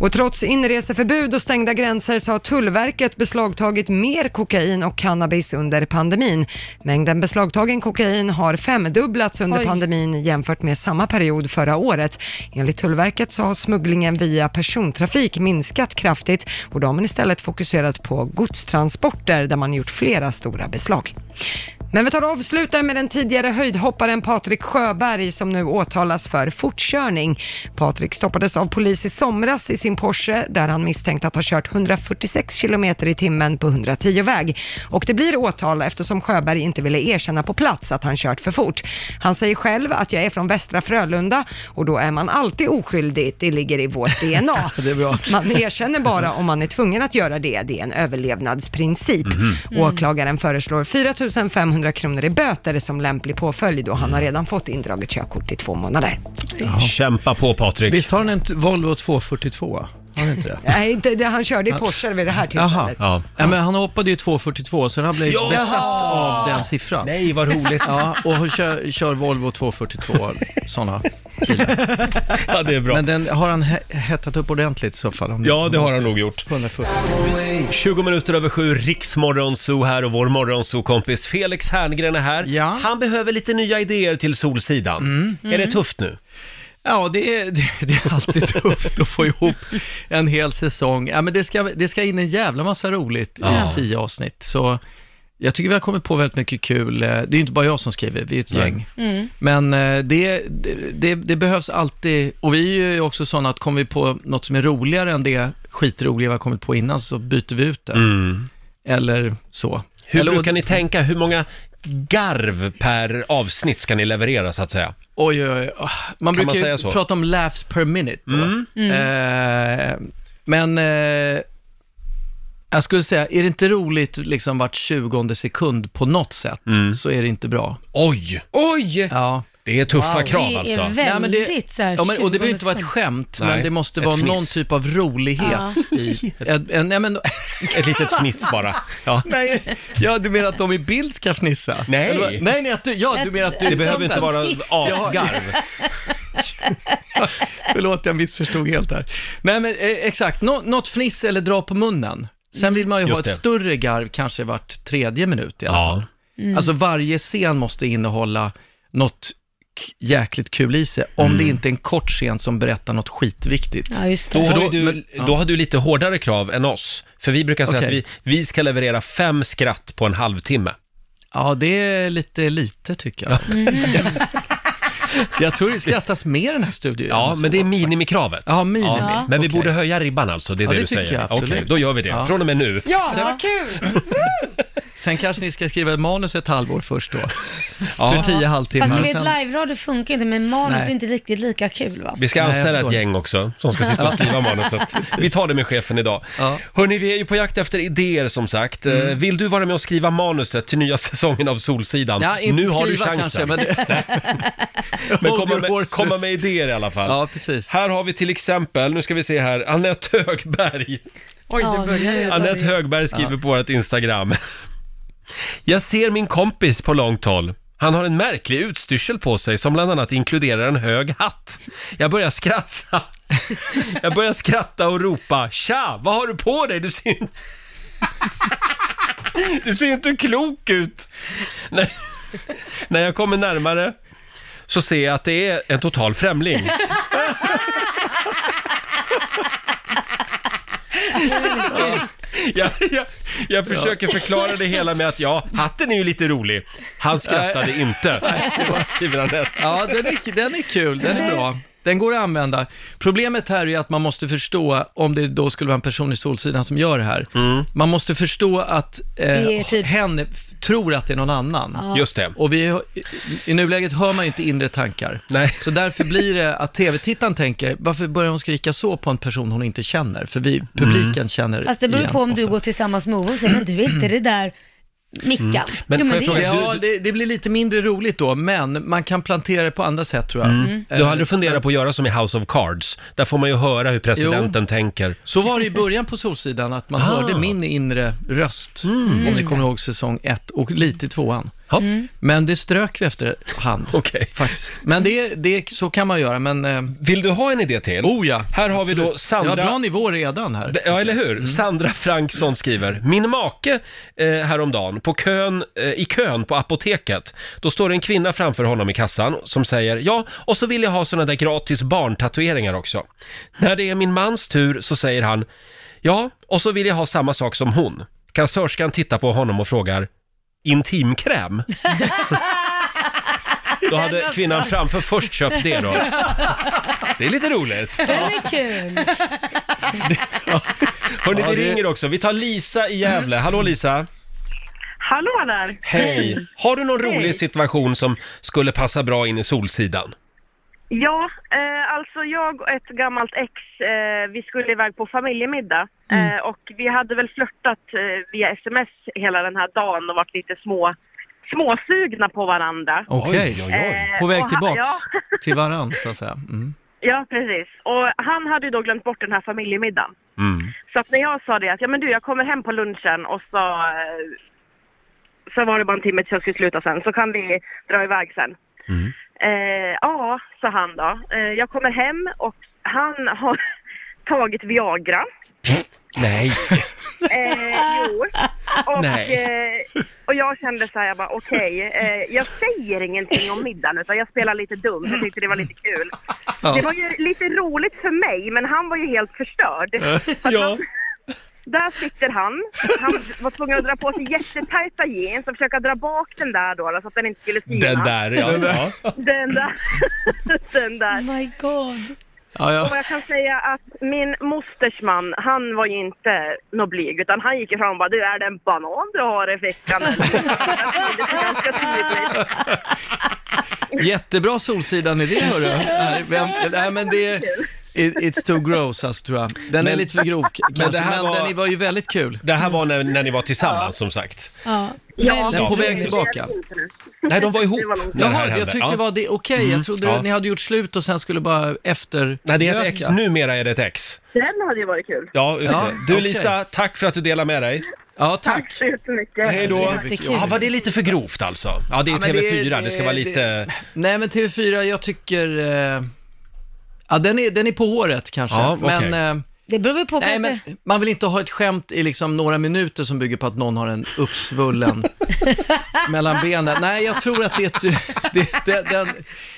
S2: Och trots inreseförbud och stängda gränser så har Tullverket beslagtagit mer kokain och cannabis under pandemin. Mängden beslagtagen kokain har femdubblats under
S4: Oj.
S2: pandemin jämfört med samma period förra året. Enligt Tullverket så har smugglingen via persontrafik minskat kraftigt och de har man istället fokuserat på godstransporter där man gjort flera stora beslag. Men vi tar och avslutar med den tidigare höjdhopparen Patrik Sjöberg som nu åtalas för fortkörning. Patrik stoppades av polis i somras i sin Porsche där han misstänkt att ha kört 146 km i timmen på 110-väg. Och det blir åtal eftersom Sjöberg inte ville erkänna på plats att han kört för fort. Han säger själv att jag är från Västra Frölunda och då är man alltid oskyldig. Det ligger i vårt DNA.
S10: Det är bra.
S2: Man erkänner bara om man är tvungen att göra det. Det är en överlevnadsprincip.
S10: Mhm.
S1: Mm-hmm.
S4: Mm.
S2: Åklagaren föreslår 4 500 kronor i böter som lämplig påföljd och han har redan fått indraget körkort i två månader.
S1: Kämpa på Patrik.
S10: Visst har han en t- Volvo 242? Har han inte det?
S2: Nej, inte, det, han körde i Porsche vid det här
S10: Jaha.
S2: tillfället.
S10: Ja. men han hoppade ju 242, sen han blev
S2: Ja!
S10: besatt av den siffran.
S1: Nej, vad roligt.
S10: Ja, och han kör, kör Volvo 242, sådana bilar.
S1: Ja, det är bra.
S10: Men den har han he- hettat upp ordentligt i så fall. om
S1: Ja, det har han nog gjort.
S10: 140.
S1: 20 minuter över sju, Riksmorgonzoo här och vår morgonzoo-kompis Felix Herngren är här. Han behöver lite nya idéer till Solsidan. Är det
S10: Mm.
S1: tufft nu?
S10: Ja, det är, det, det är alltid tufft att få ihop en hel säsong. Ja, men det, ska, det ska in en jävla massa roligt
S1: Ja.
S10: i tio avsnitt. Så jag tycker vi har kommit på väldigt mycket kul. Eh, Det är ju inte bara jag som skriver, vi är ett gäng.
S5: Mm.
S10: Men eh, det, det, det behövs alltid, och vi är ju också sådana att kommer vi på något som är roligare än det skitroliga vi har kommit på innan så byter vi ut det. Eller så.
S1: Mm. Hur
S10: Eller,
S1: brukar ni tänka? Hur många garv per avsnitt ska ni leverera så att säga?
S10: Oj, oj, oj. Man
S1: Kan man
S10: brukar
S1: säga
S10: ju
S1: så?
S10: prata om
S4: Mm.
S10: laughs per minute då.
S1: Mm.
S10: Eh, men eh, Jag skulle säga, är det inte roligt liksom vart 20 sekund på något sätt, så är det inte bra.
S1: Mm. Oj!
S2: Oj!
S10: Ja.
S1: Det är tuffa krav
S4: det
S1: alltså.
S4: är väldigt
S10: men
S4: det, så här
S10: Ja, men, och det behöver inte vara ett
S4: tjugonde
S10: skämt,
S1: Nej,
S10: men det måste
S1: ett
S10: vara
S1: fniss.
S10: någon typ av rolighet. I, en, en, nej, men,
S1: Ett litet fniss bara. Ja.
S10: nej, ja, du menar att de i bild ska fnissa?
S1: Nej.
S10: Eller vad? nej, nej att du, ja, du menar att du...
S1: Det behöver inte vara asgarv.
S10: Förlåt, jag missförstod helt här. Nej, men eh, exakt. Nå, något fniss eller dra på munnen. Sen vill man ju
S1: Just
S10: ha ett
S1: det.
S10: större garv, kanske vart tredje minut i alla fall.
S1: Ja.
S4: Mm.
S10: Alltså varje scen måste innehålla något k- jäkligt kul i sig, om det inte är en kort scen som berättar något skitviktigt.
S4: Ja, just
S1: Mm. Då
S4: det.
S1: har,
S10: då-
S1: ju du,
S10: men- ja.
S1: då har du lite hårdare krav än oss. För vi brukar säga att vi,
S10: Okej.
S1: vi ska leverera fem skratt på en halvtimme.
S10: Ja, det är lite lite tycker jag. jag tror det skrattas mer i den här studion.
S1: Ja, men det är minimikravet.
S10: Ja, minimi.
S1: Men
S10: Okej.
S1: vi borde höja ribban alltså, det är
S10: Ja,
S1: det,
S10: det
S1: du
S10: tycker
S1: säger.
S10: jag absolut.
S1: Okej, då gör vi det.
S10: Ja.
S1: Från och med nu.
S2: Ja, vad kul!
S10: Sen kanske ni ska skriva ett manus ett halvår först då.
S1: Ja.
S10: För tio halvtimmar.
S4: Fast ni vet,
S10: Sen-
S4: live-radio funkar inte, men manus
S10: Nej.
S4: blir inte riktigt lika kul va?
S1: Vi ska
S10: Nej, jag
S1: anställa ett
S10: förstår.
S1: gäng också som ska sitta och skriva manuset. Vi tar det med chefen idag.
S10: Ja. Mm.
S1: Hörni, vi är ju på jakt efter idéer som sagt. Eh, Vill du vara med och skriva manuset till nya säsongen av Solsidan?
S10: Ja, inte
S1: nu har du
S10: skriva
S1: chansen.
S10: kanske, men,
S1: Men komma
S10: Hold your
S1: med,
S10: horses.
S1: komma med idéer i alla fall.
S10: Ja, precis.
S1: Här har vi till exempel, nu ska vi se här, Anette Högberg.
S2: Oj, det
S4: Ja,
S2: börjar
S4: nu
S2: ju.
S4: börjar
S1: Anette
S4: det.
S1: Högberg skriver på vårt Instagram. Jag ser min kompis på långt håll. Han har en märklig utstyrsel på sig som bland annat inkluderar en hög hatt. Jag börjar skratta. Jag börjar skratta och ropa “Tja, vad har du på dig? Du ser, du ser inte klok ut!” när, när jag kommer närmare så ser jag att det är en total främling. Jag, jag, jag försöker förklara det hela med att ja, hatten är ju lite rolig. Han skrattade inte, skriver Anette.
S10: Ja, den är, den är kul, den är bra. Den går att använda. Problemet här är ju att man måste förstå, om det då skulle vara en person i Solsidan som gör det här,
S1: Mm.
S10: man måste förstå att
S4: Det är
S10: eh,
S4: typ-
S10: hen f- tror att det är någon annan.
S1: Just det.
S10: Och vi, har- i- i nuläget hör man ju inte inre tankar.
S1: Nej.
S10: Så därför blir det att tv-tittaren tänker, varför börjar hon skrika så på en person hon inte känner? För vi, publiken
S1: Mm.
S10: känner
S4: Fast det beror
S10: igen
S4: på om du
S10: ofta.
S4: går tillsammans med Ove och säger, men du är inte det där Mickan.
S1: Mm. Men får jag
S4: är
S1: fråga,
S4: jag.
S1: du-
S10: Ja, det, det blir lite mindre roligt då, men man kan plantera det på andra sätt tror jag.
S1: Mm.
S10: Mm.
S1: Du har aldrig funderat på att göra som i House of Cards? Där får man ju höra hur presidenten tänker.
S10: Så var det i början på Solsidan, att man
S1: Ah.
S10: hörde min inre röst, om ni kommer ihåg säsong ett och lite i tvåan.
S1: Mm. Ja,
S7: Mm.
S10: Men det strök vi efterhand,
S1: Okej.
S10: faktiskt. Men det, det, så kan man göra, men... Eh,
S1: Vill du ha en idé till?
S10: oh ja!
S1: Här har vi då Sandra...
S10: Jag har bra nivå redan här. Mm.
S1: Ja, eller hur? Sandra Franksson skriver, min make eh, häromdagen på kön, eh, i kön på apoteket, då står det en kvinna framför honom i kassan som säger, ja, och så vill jag ha såna där gratis barntatueringar också. När det är min mans tur så säger han, ja, och så vill jag ha samma sak som hon. Kassörskan tittar på honom och frågar, intimkräm? Då hade kvinnan framför först köpt det då. Det är lite roligt.
S4: Den är kul.
S1: Hörni,
S10: Ja,
S1: det
S10: det-
S1: ringer också. Vi tar Lisa i Gävle. Hallå Lisa!
S7: Hallå där!
S1: Hej! Har du någon
S7: Hej.
S1: rolig situation som skulle passa bra in i Solsidan?
S7: Ja, eh, alltså jag och ett gammalt ex, eh, vi skulle iväg på familjemiddag
S1: Mm.
S7: eh, och vi hade väl flörtat eh, via sms hela den här dagen och varit lite små, småsugna på varandra.
S10: Okej,
S1: Oj, oj, oj.
S7: Eh,
S10: på väg
S7: och ha-
S10: tillbaks
S7: Ja,
S10: till varann, så att säga. Mm.
S7: ja, precis. Och han hade ju då glömt bort den här familjemiddagen.
S1: Mm.
S7: Så att när jag sa det att ja men du jag kommer hem på lunchen och så, eh, så var det bara en timme tills jag skulle sluta sen så kan vi dra iväg sen. Eh, ja, sa han då. Eh, jag kommer hem och han har tagit Viagra.
S1: Nej!
S7: Eh, jo. Och,
S1: Nej.
S7: eh, och jag kände så här, jag bara okej, eh, jag säger ingenting om middagen utan jag spelar lite dum. Jag tyckte det var lite kul. Det var ju lite roligt för mig men han var ju helt förstörd.
S1: Eh, Ja.
S7: Där sitter han. Han var tvungen att dra på sig jättetajta jeans och försöka dra bak den där då, då så att den inte skulle synas.
S1: Den där, ja. ja.
S7: Den där. den där.
S4: Oh my god.
S10: Ja, ja.
S7: Och jag kan säga att min mosters man, han var ju inte nå blyg utan han gick ju fram och bara du är det en banan du har i fickan eller?" Det var ganska tydligt.
S10: Jättebra Solsidan-idé hörru. Nej, vem- Nej men det... It, it's too gross alltså, tror jag. Den är
S1: Men-
S10: lite för grov
S1: Men
S10: kanske, men,
S1: det här var-
S10: den är- var ju väldigt kul.
S1: Det här var när, när ni var tillsammans som sagt.
S4: Ja.
S10: Ja, men på väg tillbaka.
S1: Nej, de var ihop. när det här
S10: Jaha,
S1: hände.
S10: jag tyckte det var det, okej,
S1: Mm.
S10: jag trodde
S1: Ja.
S10: ni hade gjort slut och sen skulle bara efter...
S1: Nej, det är ett ex. Numera är det ett ex.
S7: Den hade ju varit kul.
S1: Ja, just
S10: Ja,
S1: det. Du
S10: okej.
S1: Lisa, tack för att du delar med dig.
S10: Ja,
S7: Tack så jättemycket.
S1: Hej då.
S10: Jättekul.
S1: Ja, var det lite för grovt alltså? Ja, det är
S10: Ja, men
S1: TV4, det, ska vara lite...
S10: det- nej, men TV4, jag tycker... Eh, ja, den är, den är på håret kanske,
S1: Ja, okej.
S10: men... Eh,
S4: Det beror väl på
S10: Nej, men
S4: kanske-
S10: man vill inte ha ett skämt i liksom några minuter som bygger på att någon har en uppsvullen mellan benen. Nej, jag tror att det, är ty- det, det den,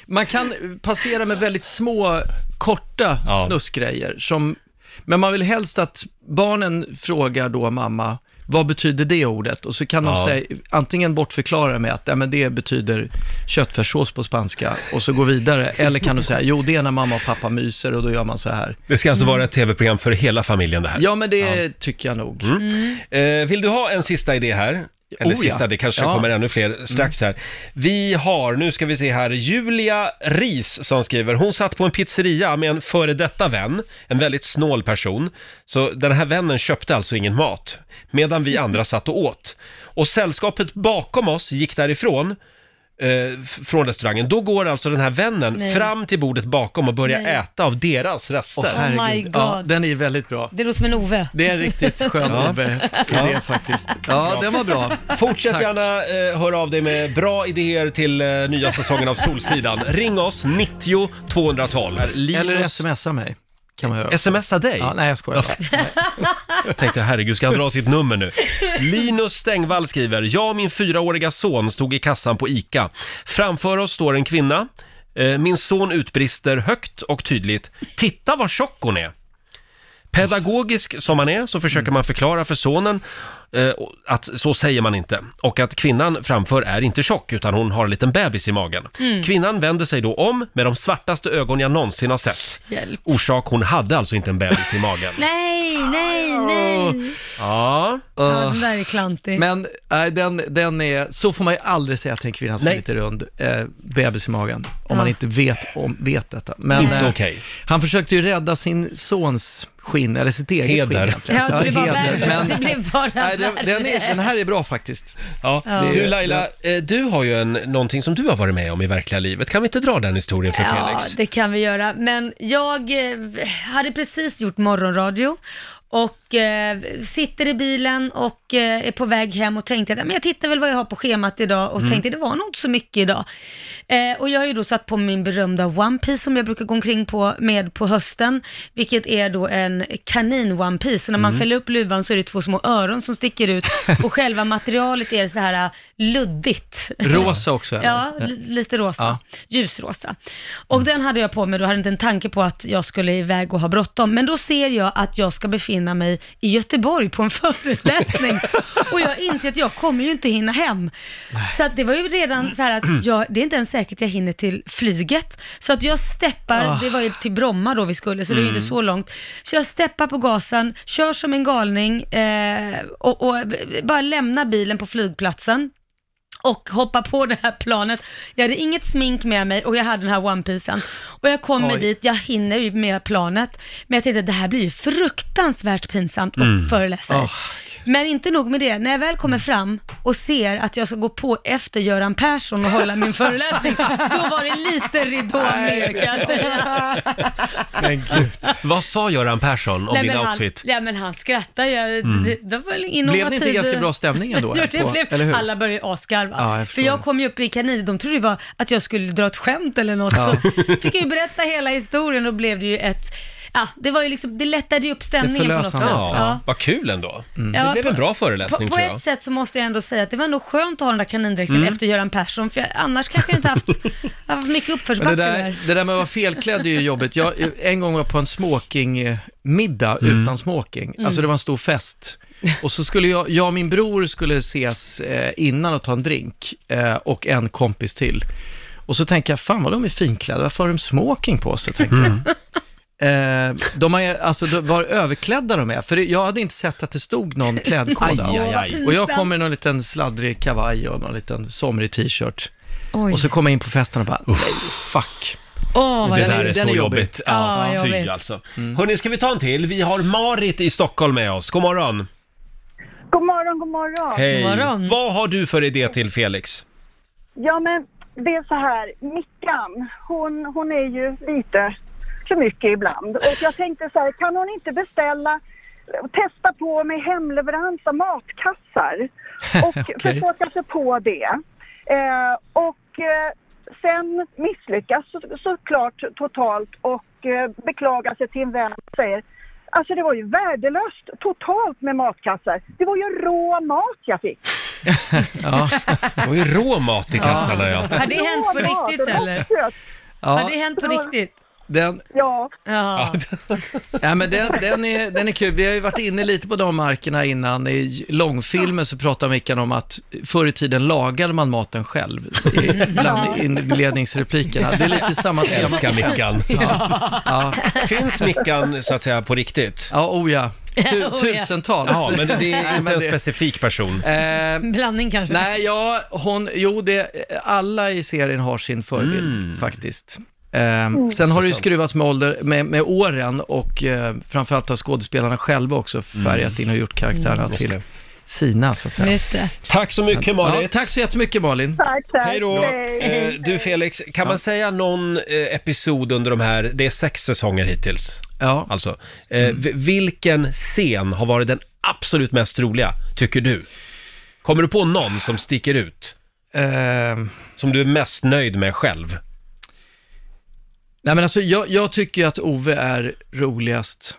S10: Man kan passera med väldigt små, korta
S1: Ja.
S10: snuskgrejer. Som, men man vill helst att barnen frågar då mamma, vad betyder det ordet? Och så kan de
S1: Ja.
S10: säga, antingen bortförklara med att "Ja, men det betyder köttfärssås på spanska och så gå vidare. Eller kan du säga, jo det är när mamma och pappa myser och då gör man så här.
S1: Det ska alltså vara ett TV-program för hela familjen det här.
S10: Mm. Ja, men det tycker jag nog.
S1: Eh, vill du ha en sista idé här? Eller
S10: Oh, ja.
S1: sista, det kanske
S10: Ja.
S1: kommer ännu fler strax här. Vi har, nu ska vi se här, Julia Ris som skriver, hon satt på en pizzeria med en före detta vän, en väldigt snål person. Så den här vännen köpte alltså ingen mat, medan vi andra satt och åt. Och sällskapet bakom oss gick därifrån, eh, f- från restaurangen. Då går alltså den här vännen
S4: Nej.
S1: fram till bordet bakom och börjar
S4: Nej.
S1: äta av deras rester.
S10: Åh, herregud.
S4: my God.
S10: Ja, den är väldigt bra.
S4: Det låter som en Ove.
S10: Det är en riktigt skön
S1: Ja.
S10: Ove,
S1: Ja.
S10: idé faktiskt. Ja, den var bra.
S1: Fortsätt
S10: Tack.
S1: gärna eh, höra av dig med bra idéer till eh, nya säsongen av Solsidan. Ring oss, 90 212. Linus-
S10: Eller smsa mig, kan man göra.
S1: Smsa dig?
S10: Ja, nej, jag skojar bara.
S1: Jag tänkte herregud, ska han dra sitt nummer nu? Linus Stengvall skriver, jag och min fyraåriga son stod i kassan på ICA. Framför oss står en kvinna. Eh, Min son utbrister högt och tydligt, titta vad tjock hon är! Pedagogisk som man är så försöker man förklara för sonen eh, att så säger man inte och att kvinnan framför är inte tjock utan hon har en liten bebis i magen. Kvinnan vänder sig då om med de svartaste ögon jag någonsin har sett.
S4: Hjälp.
S1: Orsak, hon hade alltså inte en bebis i magen.
S4: Nej, nej, nej.
S1: Ja.
S4: Ja, den där är klantig.
S10: Eh, Men nej, den, den är, så får man ju aldrig säga till en kvinna som
S1: Nej.
S10: är lite rund, eh, bebis i magen, om
S4: Ja.
S10: man inte vet, om, vet detta. Men,
S1: Inte
S10: eh,
S1: okej.
S10: Han försökte ju rädda sin sons skinn, eller sitt eget
S1: Heder.
S10: skinn egentligen.
S4: ja, det, blev bara
S10: heder,
S4: värre.
S10: men-
S4: det blev bara
S10: Nej, den,
S4: värre.
S10: den, är, den här är bra faktiskt.
S1: Ja.
S10: Det-
S1: Du Laila, eh, du har ju en, någonting som du har varit med om i verkliga livet. Kan vi inte dra den historien för
S4: Ja,
S1: Felix?
S4: det kan vi göra. Men jag eh, hade precis gjort morgonradio och eh, sitter i bilen och eh, är på väg hem och tänkte att "Ja, men jag tittar väl vad jag har på schemat idag och
S1: Mm.
S4: tänkte det var nog inte så mycket idag. Eh, och jag har ju då satt på min berömda One Piece som jag brukar gå omkring på med på hösten, vilket är då en kanin One Piece. Och när
S1: Mm.
S4: man fäller upp luvan så är det två små öron som sticker ut och själva materialet är så här eh, luddigt.
S10: Rosa också. eller?
S4: Ja, li- lite rosa. Ljusrosa. Och den hade jag på mig då, hade inte en tanke på att jag skulle iväg och ha bråttom. Men då ser jag att jag ska befinna mig i Göteborg på en föreläsning. och jag inser att jag kommer ju inte hinna hem. Så att det var ju redan så här
S10: Mm.
S4: att jag, det är inte ens säkert jag hinner till flyget. Så att jag steppar,
S10: Ah.
S4: det var ju till Bromma då vi skulle, så det är
S10: Mm.
S4: ju inte så långt. Så jag steppar på gasen, kör som en galning eh, och, och bara lämnar bilen på flygplatsen och hoppa på det här planet. Jag hade inget smink med mig och jag hade den här one piecen Och jag kommer
S10: Oj.
S4: dit, jag hinner ju med planet, men jag tänkte det här blir ju fruktansvärt pinsamt och
S1: Mm.
S4: föreläsa i.
S10: Mm. Åh,
S4: Men inte nog med det, när jag väl kommer fram och ser att jag ska gå på efter Göran Persson och hålla min föreläsning, då var det lite ridå mer kan jag säga.
S10: Men gud.
S1: Vad sa Göran Persson om din
S4: men han,
S1: outfit? Mm.
S4: nej, men han skrattade ju. Det, det var väl innovativ...
S10: Blev det inte ganska bra stämning ändå?
S4: Jo,
S10: här
S4: det
S10: på-
S4: blev,
S10: eller hur?
S4: alla började ju asgarva.
S10: Ja, jag
S4: för
S10: förstår
S4: jag
S10: det.
S4: kom ju upp i kanin, de trodde ju var att jag skulle dra ett skämt eller något. Så fick jag ju berätta hela historien och blev det ju ett, ja, det var ju liksom, det lättade ju upp stämningen på något sätt.
S10: förlösande. Mm.
S1: Ja,
S4: Ja.
S1: vad kul ändå.
S4: Ja,
S1: Det blev en bra
S4: På,
S1: föreläsning
S4: på
S1: tror jag. Mm.
S4: ett sätt så måste jag ändå säga att det var nog skönt att ha den där kanindräkten efter Göran Persson, för jag, annars kanske jag inte haft, jag har haft mycket
S10: Men det
S4: uppförsbacke
S10: där,
S4: där.
S10: det där med att vara felklädd är ju jobbigt. Jag, en gång var jag på en smokingmiddag utan smoking.
S1: Mm.
S10: Alltså det var en stor fest. Och så skulle jag, jag och min bror skulle ses eh, innan och ta en drink eh, och en kompis till. Och så tänker jag, fan vad de är finklädda, varför har de smoking på sig? Tänkte jag. Eh, de har, ju- alltså de var överklädda de är, för det- jag hade inte sett att det stod någon klädkod.
S1: Aj,
S10: Alltså.
S1: aj, aj.
S10: Och jag kommer i någon liten sladdrig kavaj och någon liten somrig t-shirt.
S4: Oj.
S10: Och så kom jag in på festen och bara, nej, fuck.
S4: Åh, vad
S1: det
S4: jobbigt.
S1: där är så
S4: Den är jobbig.
S1: jobbigt.
S4: Ja,
S1: Ja, fy
S4: jobbigt.
S1: alltså.
S10: Mm.
S1: Hörni, ska vi ta en till? Vi har Marit i Stockholm med oss. God morgon.
S11: God morgon, god morgon.
S1: Hej. Vad har du för idé till Felix?
S11: Ja, men det är så här, Mickan, hon, hon är ju lite för mycket ibland. Och jag tänkte så här, kan hon inte beställa, testa på med hemleverans av matkassar? Och försöka sig på det. Eh, och eh, sen misslyckas så, såklart totalt och eh, beklagar sig till en vän och säger Alltså det var ju värdelöst totalt med matkassar. Det var ju rå mat jag fick.
S1: Ja. Det var ju rå mat i kassarna ja.
S4: Har det hänt på
S11: Rå mat,
S4: riktigt
S11: det var
S4: eller?
S11: kött.
S10: Ja.
S4: Har det hänt på riktigt?
S10: Den,
S11: Ja.
S4: Ja.
S10: ja, men den, den, är, den är kul. Vi har ju varit inne lite på de markerna innan. I långfilmen så pratade Mickan om att förr i tiden lagade man maten själv. I- Bland inledningsreplikerna. Det är lite samma tema.
S1: Älskar Mickan.
S10: Ja. Ja.
S1: Finns Mickan så att säga på riktigt?
S10: Ja, oh ja. Tu,
S4: Oh ja.
S10: Tusentals.
S1: Ja, men det är
S10: Nej,
S1: inte
S10: men
S1: en
S10: det-
S1: specifik person.
S10: Eh,
S4: Blandning kanske?
S10: Nej, ja, hon, jo, det, alla i serien har sin förebild faktiskt. Ehm,
S4: Mm.
S10: Sen har det ju
S1: Mm. Intressant.
S10: skruvats med, ålder, med, med åren och eh, framförallt har skådespelarna själva också färgat in och gjort karaktärerna
S1: Mm.
S10: till
S1: Just
S10: sina, så att säga.
S4: Just det.
S1: Tack så mycket
S10: Ja,
S1: Marit.
S10: tack så jättemycket Malin.
S11: Tack, tack.
S1: Hej då. Eh,
S11: Hej.
S1: Du Felix, kan man säga någon eh, episod under de här, det är sex säsonger hittills.
S10: Ja. Mm.
S1: Alltså, eh, vi- vilken scen har varit den absolut mest roliga, tycker du? Kommer du på någon som sticker ut?
S10: Ehm,
S1: Som du är mest nöjd med själv?
S10: nej, men alltså, jag, jag tycker ju att Ove är roligast,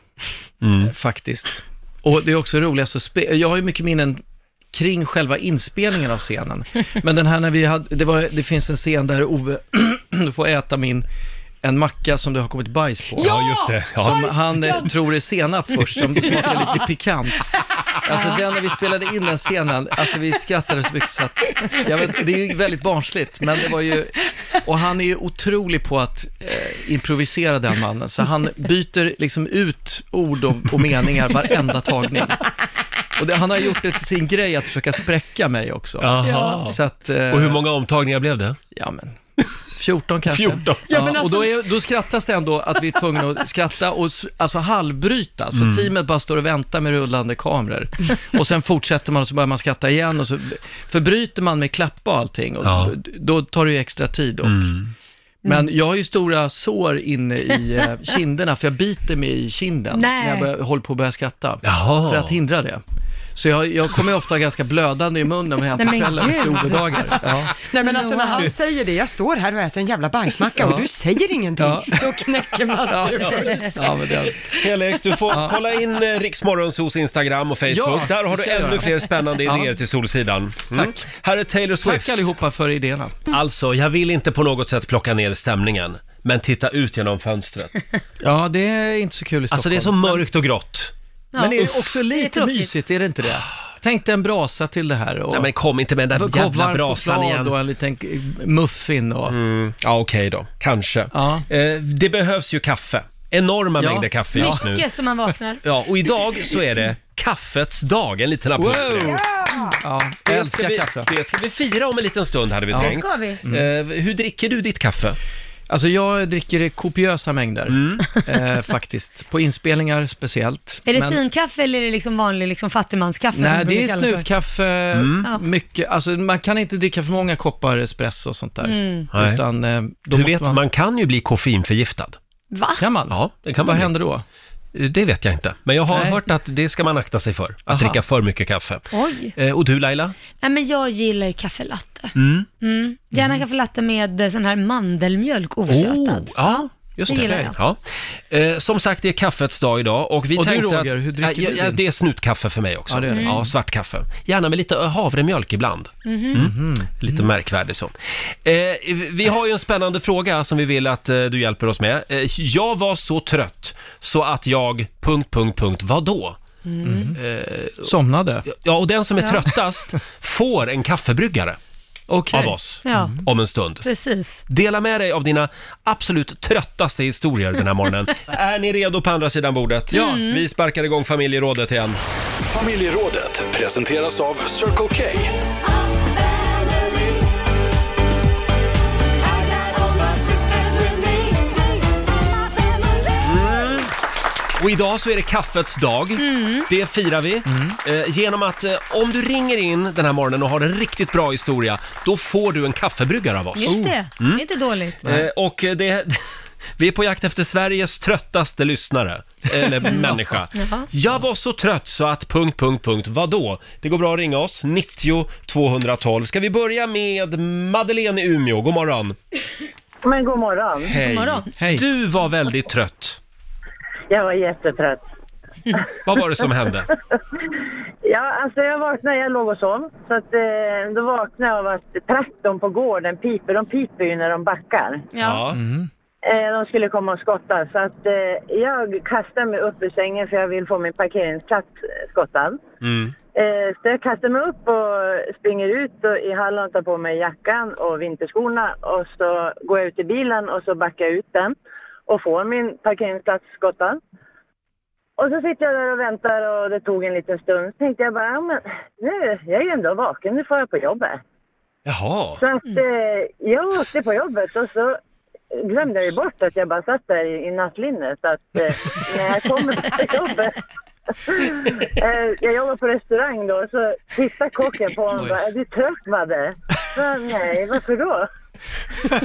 S1: Mm.
S10: eh, faktiskt. Och det är också roligast att spela. Jag har ju mycket minnen kring själva inspelningen av scenen. Men den här när vi hade, det, var, det finns en scen där Ove får äta min, en macka som det har kommit bajs på.
S1: Ja, just det.
S10: Som
S1: Ja.
S10: han eh, tror är senap först, som smakar lite pikant. Alltså den när vi spelade in den scenen, alltså vi skrattade så mycket så att, jag vet, det är ju väldigt barnsligt, men det var ju, och han är ju otrolig på att eh, improvisera den mannen, så han byter liksom ut ord och, och meningar varenda tagning. Och det, han har gjort det till sin grej att försöka spräcka mig också.
S1: Jaha.
S10: Så att, eh,
S1: Och hur många omtagningar blev det?
S10: ja men, 14 kanske.
S1: 14.
S10: Ja,
S4: men alltså-
S10: och då, är, då skrattas det ändå att vi är tvungna att skratta och s- alltså halvbryta.
S1: Mm.
S10: Så teamet bara står och väntar med rullande kameror. Och sen fortsätter man och så börjar man skratta igen. Och så förbryter man med klappa och allting. Och
S1: Ja. Mm.
S10: d- Då tar det ju extra tid. Och, Men jag har ju stora sår inne i eh, kinderna, för jag biter mig i kinden
S4: Nej.
S10: när jag börjar, håller på att börja skratta.
S1: Jaha.
S10: För att hindra det. Så jag, jag kommer ju ofta ganska blödande i munnen med
S4: Nej, men
S10: kvällen
S4: gud.
S10: efter OB-dagar. Ja.
S2: Nej men alltså när
S4: Wow.
S2: han säger det, jag står här och äter en jävla bajsmacka och du säger ingenting,
S10: Ja.
S2: då knäcker man sig.
S10: Ja, men det,
S1: Felix, du får kolla in eh, Riksmorgonsos Instagram och Facebook.
S10: Ja,
S1: Där har
S10: det
S1: du
S10: ska jag
S1: ännu
S10: göra.
S1: fler spännande
S10: Ja.
S1: idéer till Solsidan. Mm. Tack. Här är Taylor Swift.
S10: Tack allihopa för idéerna.
S1: Alltså, jag vill inte på något sätt plocka ner stämningen, men titta ut genom fönstret.
S10: Ja, det är inte så kul i Stockholm.
S1: Alltså det är så mörkt och grått.
S10: Men det är
S4: Det
S10: också
S4: är
S10: lite
S4: tråkigt.
S10: mysigt, är det inte det? Tänk dig en brasa till det här och...
S1: Nej men kom inte med den
S10: och
S1: där jävla
S10: varm
S1: brasan
S10: choklad
S1: igen.
S10: Och en liten k- muffin och...
S1: Mm, ja okej då, kanske.
S10: Ja.
S1: Eh, det behövs ju kaffe. Enorma
S10: Ja.
S1: mängder kaffe just nu.
S4: Mycket som man vaknar.
S1: Ja, och idag så är det kaffets dag. En liten applåd för det.
S10: Wow! Ja, jag
S1: Det ska,
S10: älskar
S1: vi,
S10: kaffe. Mm.
S1: det ska vi fira om en liten stund hade vi tänkt.
S4: ska vi.
S1: Eh, hur dricker du ditt kaffe? Mm.
S10: Alltså jag dricker det i kopiösa mängder, eh, faktiskt. På inspelningar speciellt.
S4: Är det
S10: Men-
S4: finkaffe eller är det liksom vanlig liksom fattigmanskaffe? som
S10: Nej,
S4: man
S10: det
S4: brukar
S10: är
S4: kalla för?
S10: snutkaffe,
S1: Mm.
S4: Ja.
S10: mycket. Alltså man kan inte dricka för många koppar espresso och sånt där.
S4: Mm.
S1: Nej.
S10: Utan eh, då
S1: Du
S10: måste
S1: vet, man... kan ju bli koffeinförgiftad.
S4: Va?
S10: Kan man?
S1: Ja, det kan man
S10: Vad
S1: bli. Eh,
S10: händer då?
S1: Det vet jag inte, men jag har
S10: Nej.
S1: hört att det ska man akta sig för, att
S10: Aha.
S1: dricka för mycket kaffe.
S4: Oj.
S1: Eh, och du Laila?
S4: Nej, men jag gillar ju kaffelatte. Mm. Gärna kaffelatte med eh, sån här mandelmjölk osötad.
S1: Oh, ja, just
S4: Det
S1: det.
S4: gillar
S1: Ja. Eh, som sagt, det är kaffets dag idag och vi
S10: Och du,
S1: tänkte
S10: Roger,
S1: att...
S10: hur dricker
S1: ja,
S10: du
S1: ja,
S10: din?
S1: Det är snutkaffe för mig också. Mm.
S10: Ja, det är det.
S1: ja, svart kaffe. Gärna med lite eh, havremjölk ibland. Mm. Lite märkvärdig så. Eh, vi har ju en spännande fråga som vi vill att eh, du hjälper oss med. Eh, jag var så trött så att jag... Punkt, punkt, punkt, vadå?
S4: Mm.
S10: Mm.
S1: Eh,
S10: Somnade?
S1: Ja, och den som är tröttast får en kaffebryggare
S10: Okej.
S1: av oss
S4: Ja,
S1: om en stund.
S4: precis.
S1: Dela med dig av dina absolut tröttaste historier den här morgonen. är ni redo på andra sidan bordet? Ja. Vi sparkar igång familjerådet igen.
S3: Familjerådet presenteras av Circle K.
S5: I got all my sisters with me.
S1: Och idag så är det kaffets dag.
S4: Mm.
S1: Det firar vi. Eh, genom att eh, om du ringer in den här morgonen och har en riktigt bra historia, då får du en kaffebryggare av oss.
S4: Just det,
S1: Mm.
S4: det är inte dåligt.
S1: Eh, och det, vi är på jakt efter Sveriges tröttaste lyssnare, eller människa.
S4: Jaha.
S1: Jag var så trött så att... Punkt, punkt, punkt. Vadå? Det går bra att ringa oss, 90 212. Ska vi börja med Madeleine i Umeå? God morgon.
S12: Men god morgon.
S1: Hej. Du var väldigt trött.
S12: Jag var jättetrött.
S1: Vad var det som hände?
S12: Ja, alltså jag vaknade, jag låg och sov. Så att, eh, då vaknade jag av att traktorn på gården piper. De piper ju när de backar.
S4: Ja.
S10: Mhm.
S12: Eh, de skulle komma och skotta. Så att eh, jag kastade mig upp ur sängen för jag vill få min parkeringsplats eh, skottad.
S5: Mm.
S12: Eh, så jag kastar mig upp och springer ut och i hallen och tar på mig jackan och vinterskorna och så går jag ut i bilen och så backar jag ut den och får min parkeringsplats skottad. Och så sitter jag där och väntar och det tog en liten stund. Så tänkte jag bara, ja, men nu, jag är ju ändå vaken, nu får jag på jobbet.
S1: Jaha.
S12: Så att eh, jag åkte på jobbet och så glömde jag ju bort att jag bara satt där i, i nattlinne. Så att eh, när jag kommer till jobbet, eh, jag jobbar på restaurang då, så tittar kocken på honom och bara, är du trött Madde? Så, jag, Nej, varför då?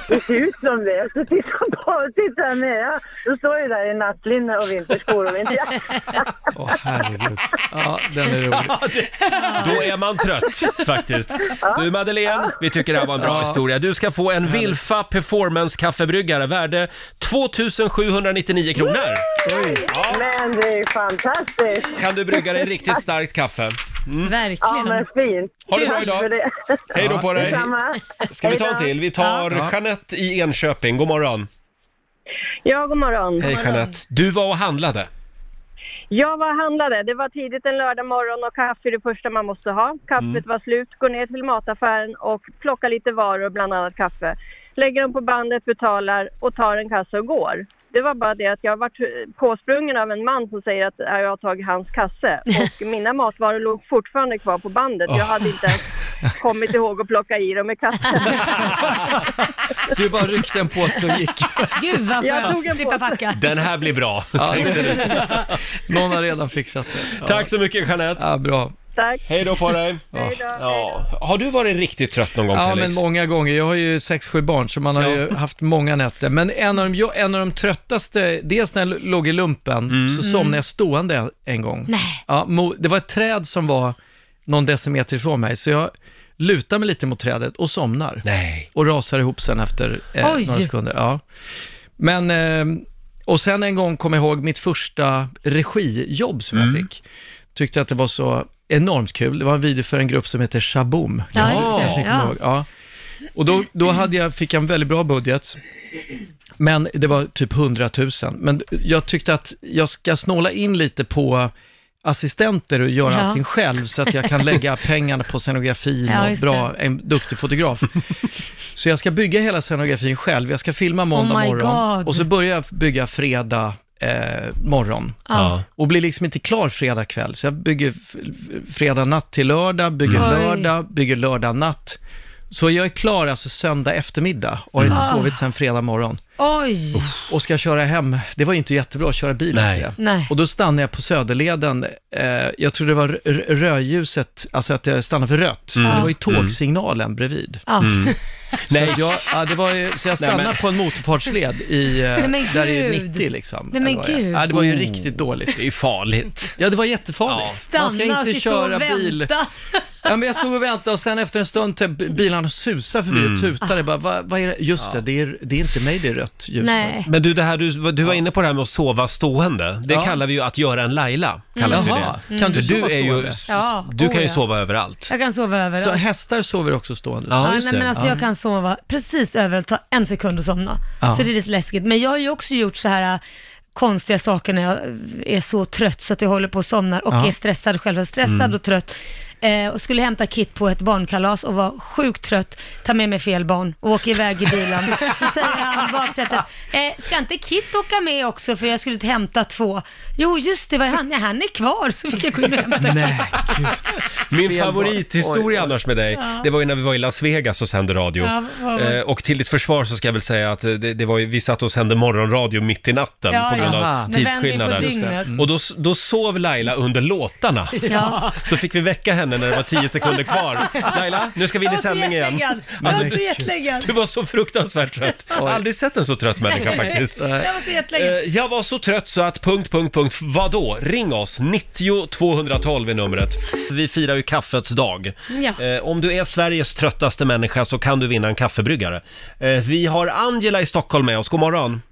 S12: Det ser ut som det. Så tittar han på tittar han ner. Ja, Då står jag där i nattlinne och vinterskor och vinterjacka.
S10: Åh, herregud. Ja, den är rolig.
S1: Ja, det, då är man trött faktiskt. Du Madeleine, vi tycker det här var en bra
S10: Ja.
S1: historia. Du ska få en Wilfa Performance kaffebryggare värde 2799 kronor.
S12: Men det är ju fantastiskt.
S1: Kan du brygga dig riktigt starkt kaffe. Mm.
S12: Ja, men fint.
S1: Ha det bra idag. Hej då på dig.
S12: Detsamma.
S1: Ska vi
S12: Hej
S1: ta en
S12: då.
S1: till? Vi tar
S12: Ja.
S1: Jeanette i Enköping. God morgon.
S13: Ja, god morgon.
S1: Hej Jeanette. Du var och handlade.
S13: Jag var och handlade. Det var tidigt en lördag morgon och kaffe är det första man måste ha. Kaffet
S1: Mm.
S13: var slut. Går ner till mataffären och plockar lite varor, bland annat kaffe. Lägger dem på bandet, betalar och tar en kasse och går. Det var bara det att jag varit eh, påsprungen av en man som säger att "Ja, jag har tagit hans kasse. Och mina matvaror låg fortfarande kvar på bandet. Jag
S10: Åh.
S13: hade inte ens kommit ihåg att plocka i dem i kassen.
S10: Du bara ryckte en påse och gick.
S4: Gud vad
S13: Jag
S4: skönt,
S13: tog en
S4: slippa packa.
S1: Den här blir bra,
S10: Ja,
S1: tänkte du.
S10: det- Någon har redan fixat det. Ja.
S1: Tack så mycket Jeanette.
S10: Ja, bra.
S13: Tack.
S1: Hej då på dig. Ja. Har du varit riktigt trött någon gång
S10: Ja,
S1: Felix?
S10: men många gånger. Jag har ju sex, sju barn, så man har ju haft många nätter. Men en av de, jag- en av de tröttaste, dels när jag låg i lumpen,
S1: Mm.
S10: så somnade jag stående en gång.
S5: Mm. Nej.
S10: Ja, mo- det var ett träd som var någon decimeter ifrån mig, så jag lutar mig lite mot trädet och somnar.
S1: Nej.
S10: Och rasar ihop sen efter eh,
S5: Oj.
S10: några sekunder. Ja. Men, eh, och sen en gång kom jag ihåg mitt första regijobb som
S1: Mm.
S10: jag fick. Tyckte att det var så enormt kul. Det var en video för en grupp som heter Shaboom.
S5: Ja,
S10: Kanske-
S5: just det.
S10: kanske ni kommer
S5: Ja.
S10: ihåg. Ja. Och då, då hade jag, fick jag en väldigt bra budget. Men det var typ 100 000. Men jag tyckte att jag ska snåla in lite på assistenter och göra
S5: Ja.
S10: allting själv så att jag kan lägga pengarna på scenografin
S5: Ja,
S10: och
S5: just
S10: bra,
S5: det.
S10: en duktig fotograf. Så jag ska bygga hela scenografin själv. Jag ska filma måndag
S5: Oh my
S10: morgon
S5: God.
S10: och så börjar jag bygga fredag eh, morgon.
S5: Ja.
S10: Och blir liksom inte klar fredag kväll. Så jag bygger f- f- fredag natt till lördag, bygger
S5: Mm. Oj.
S10: lördag, bygger lördag natt. Så jag är klar alltså söndag eftermiddag och har inte
S4: Mm.
S10: sovit sedan fredag morgon.
S4: Oj!
S10: Och ska köra hem, det var ju inte jättebra att köra bil Nej. efter det.
S4: Nej.
S10: Och då stannade jag på Söderleden, eh, jag tror det var r- r- rödljuset, alltså att jag stannade för rött.
S1: Mm.
S10: Men det var ju
S1: Mm.
S10: tågsignalen bredvid.
S1: Ah.
S4: Ja. Mm.
S10: Så,
S1: Nej.
S10: Nej. Jag, ja, det var ju, så jag
S1: Nej, men-
S10: stannade på en motorfartsled i, eh,
S4: Nej, men
S10: där det är
S4: gud.
S10: 90 liksom.
S4: Nej, men
S10: eller vad det är.
S4: gud.
S10: Ja, det var ju
S1: Oh.
S10: riktigt dåligt.
S1: Det är farligt.
S10: Ja, det var jättefarligt. Man ska
S4: Stanna och
S10: inte
S4: sitta
S10: köra
S4: och
S10: bil.
S4: vänta.
S10: Ja, men jag stod och väntade och sen efter en stund till bilarna susade förbi
S1: Mm.
S10: och tutade. Jag Bara, vad, vad är det? Just det, det är, det är inte mig det är rött ljus.
S4: Nej.
S1: Men du, det här, du, du var inne på det här med att sova stående. Det kallar vi ju att göra en Laila. Kallas
S10: Mm.
S1: ju
S10: Jaha.
S1: det.
S10: Kan du
S1: För
S10: sova
S1: är ju,
S10: stående?
S4: Ja,
S1: Du kan ju
S4: oh ja.
S1: sova överallt.
S4: Jag kan sova överallt.
S10: Så hästar sover också stående?
S4: Ja, nej, men alltså jag kan sova precis överallt, ta en sekund och somna.
S10: Ja.
S4: Så det är lite läskigt. Men jag har ju också gjort så här äh, konstiga saker när jag är så trött så att jag håller på att somna och
S10: Ja.
S4: är stressad själv. Jag är stressad
S10: Mm.
S4: och trött. eh, och skulle hämta Kit på ett barnkalas och var sjukt trött, tar med mig fel barn och åker iväg i bilen. Så säger han i baksätet, eh, ska inte Kit åka med också för jag skulle hämta två? Jo just det, var han, nej, han är kvar så fick jag gå in och hämta Kit.
S1: Min
S4: Fel barn. Oj,
S1: favorithistoria
S4: oj.
S1: annars med dig,
S4: Ja.
S1: det var ju när vi var i Las Vegas och sände radio.
S4: Ja, vad var det?
S1: Eh, och till ditt försvar så ska jag väl säga att eh, det, det var ju, vi satt och sände morgonradio mitt i natten
S4: Ja,
S1: på grund
S4: ja.
S1: av
S4: Med
S1: tidsskillnaden.
S4: vändning på dygnet. Mm.
S1: Och då, då sov Laila under låtarna.
S4: Ja.
S1: Så fick vi väcka henne när det var tio sekunder kvar. Laila, nu ska vi in i
S4: Jag var så
S1: sändning igen.
S4: jetlaggad. Jag var så jetlaggad.
S1: du var så fruktansvärt trött. Jag har aldrig sett en så trött människa faktiskt.
S4: Jag var så jetlaggad.
S1: Eh, Jag var så trött så att... Punkt, punkt, punkt. Vadå? Ring oss! 90 212 är numret. Vi firar ju kaffets dag.
S4: Ja.
S1: Eh, om du är Sveriges tröttaste människa så kan du vinna en kaffebryggare. Eh, vi har Angela i Stockholm med oss. God morgon!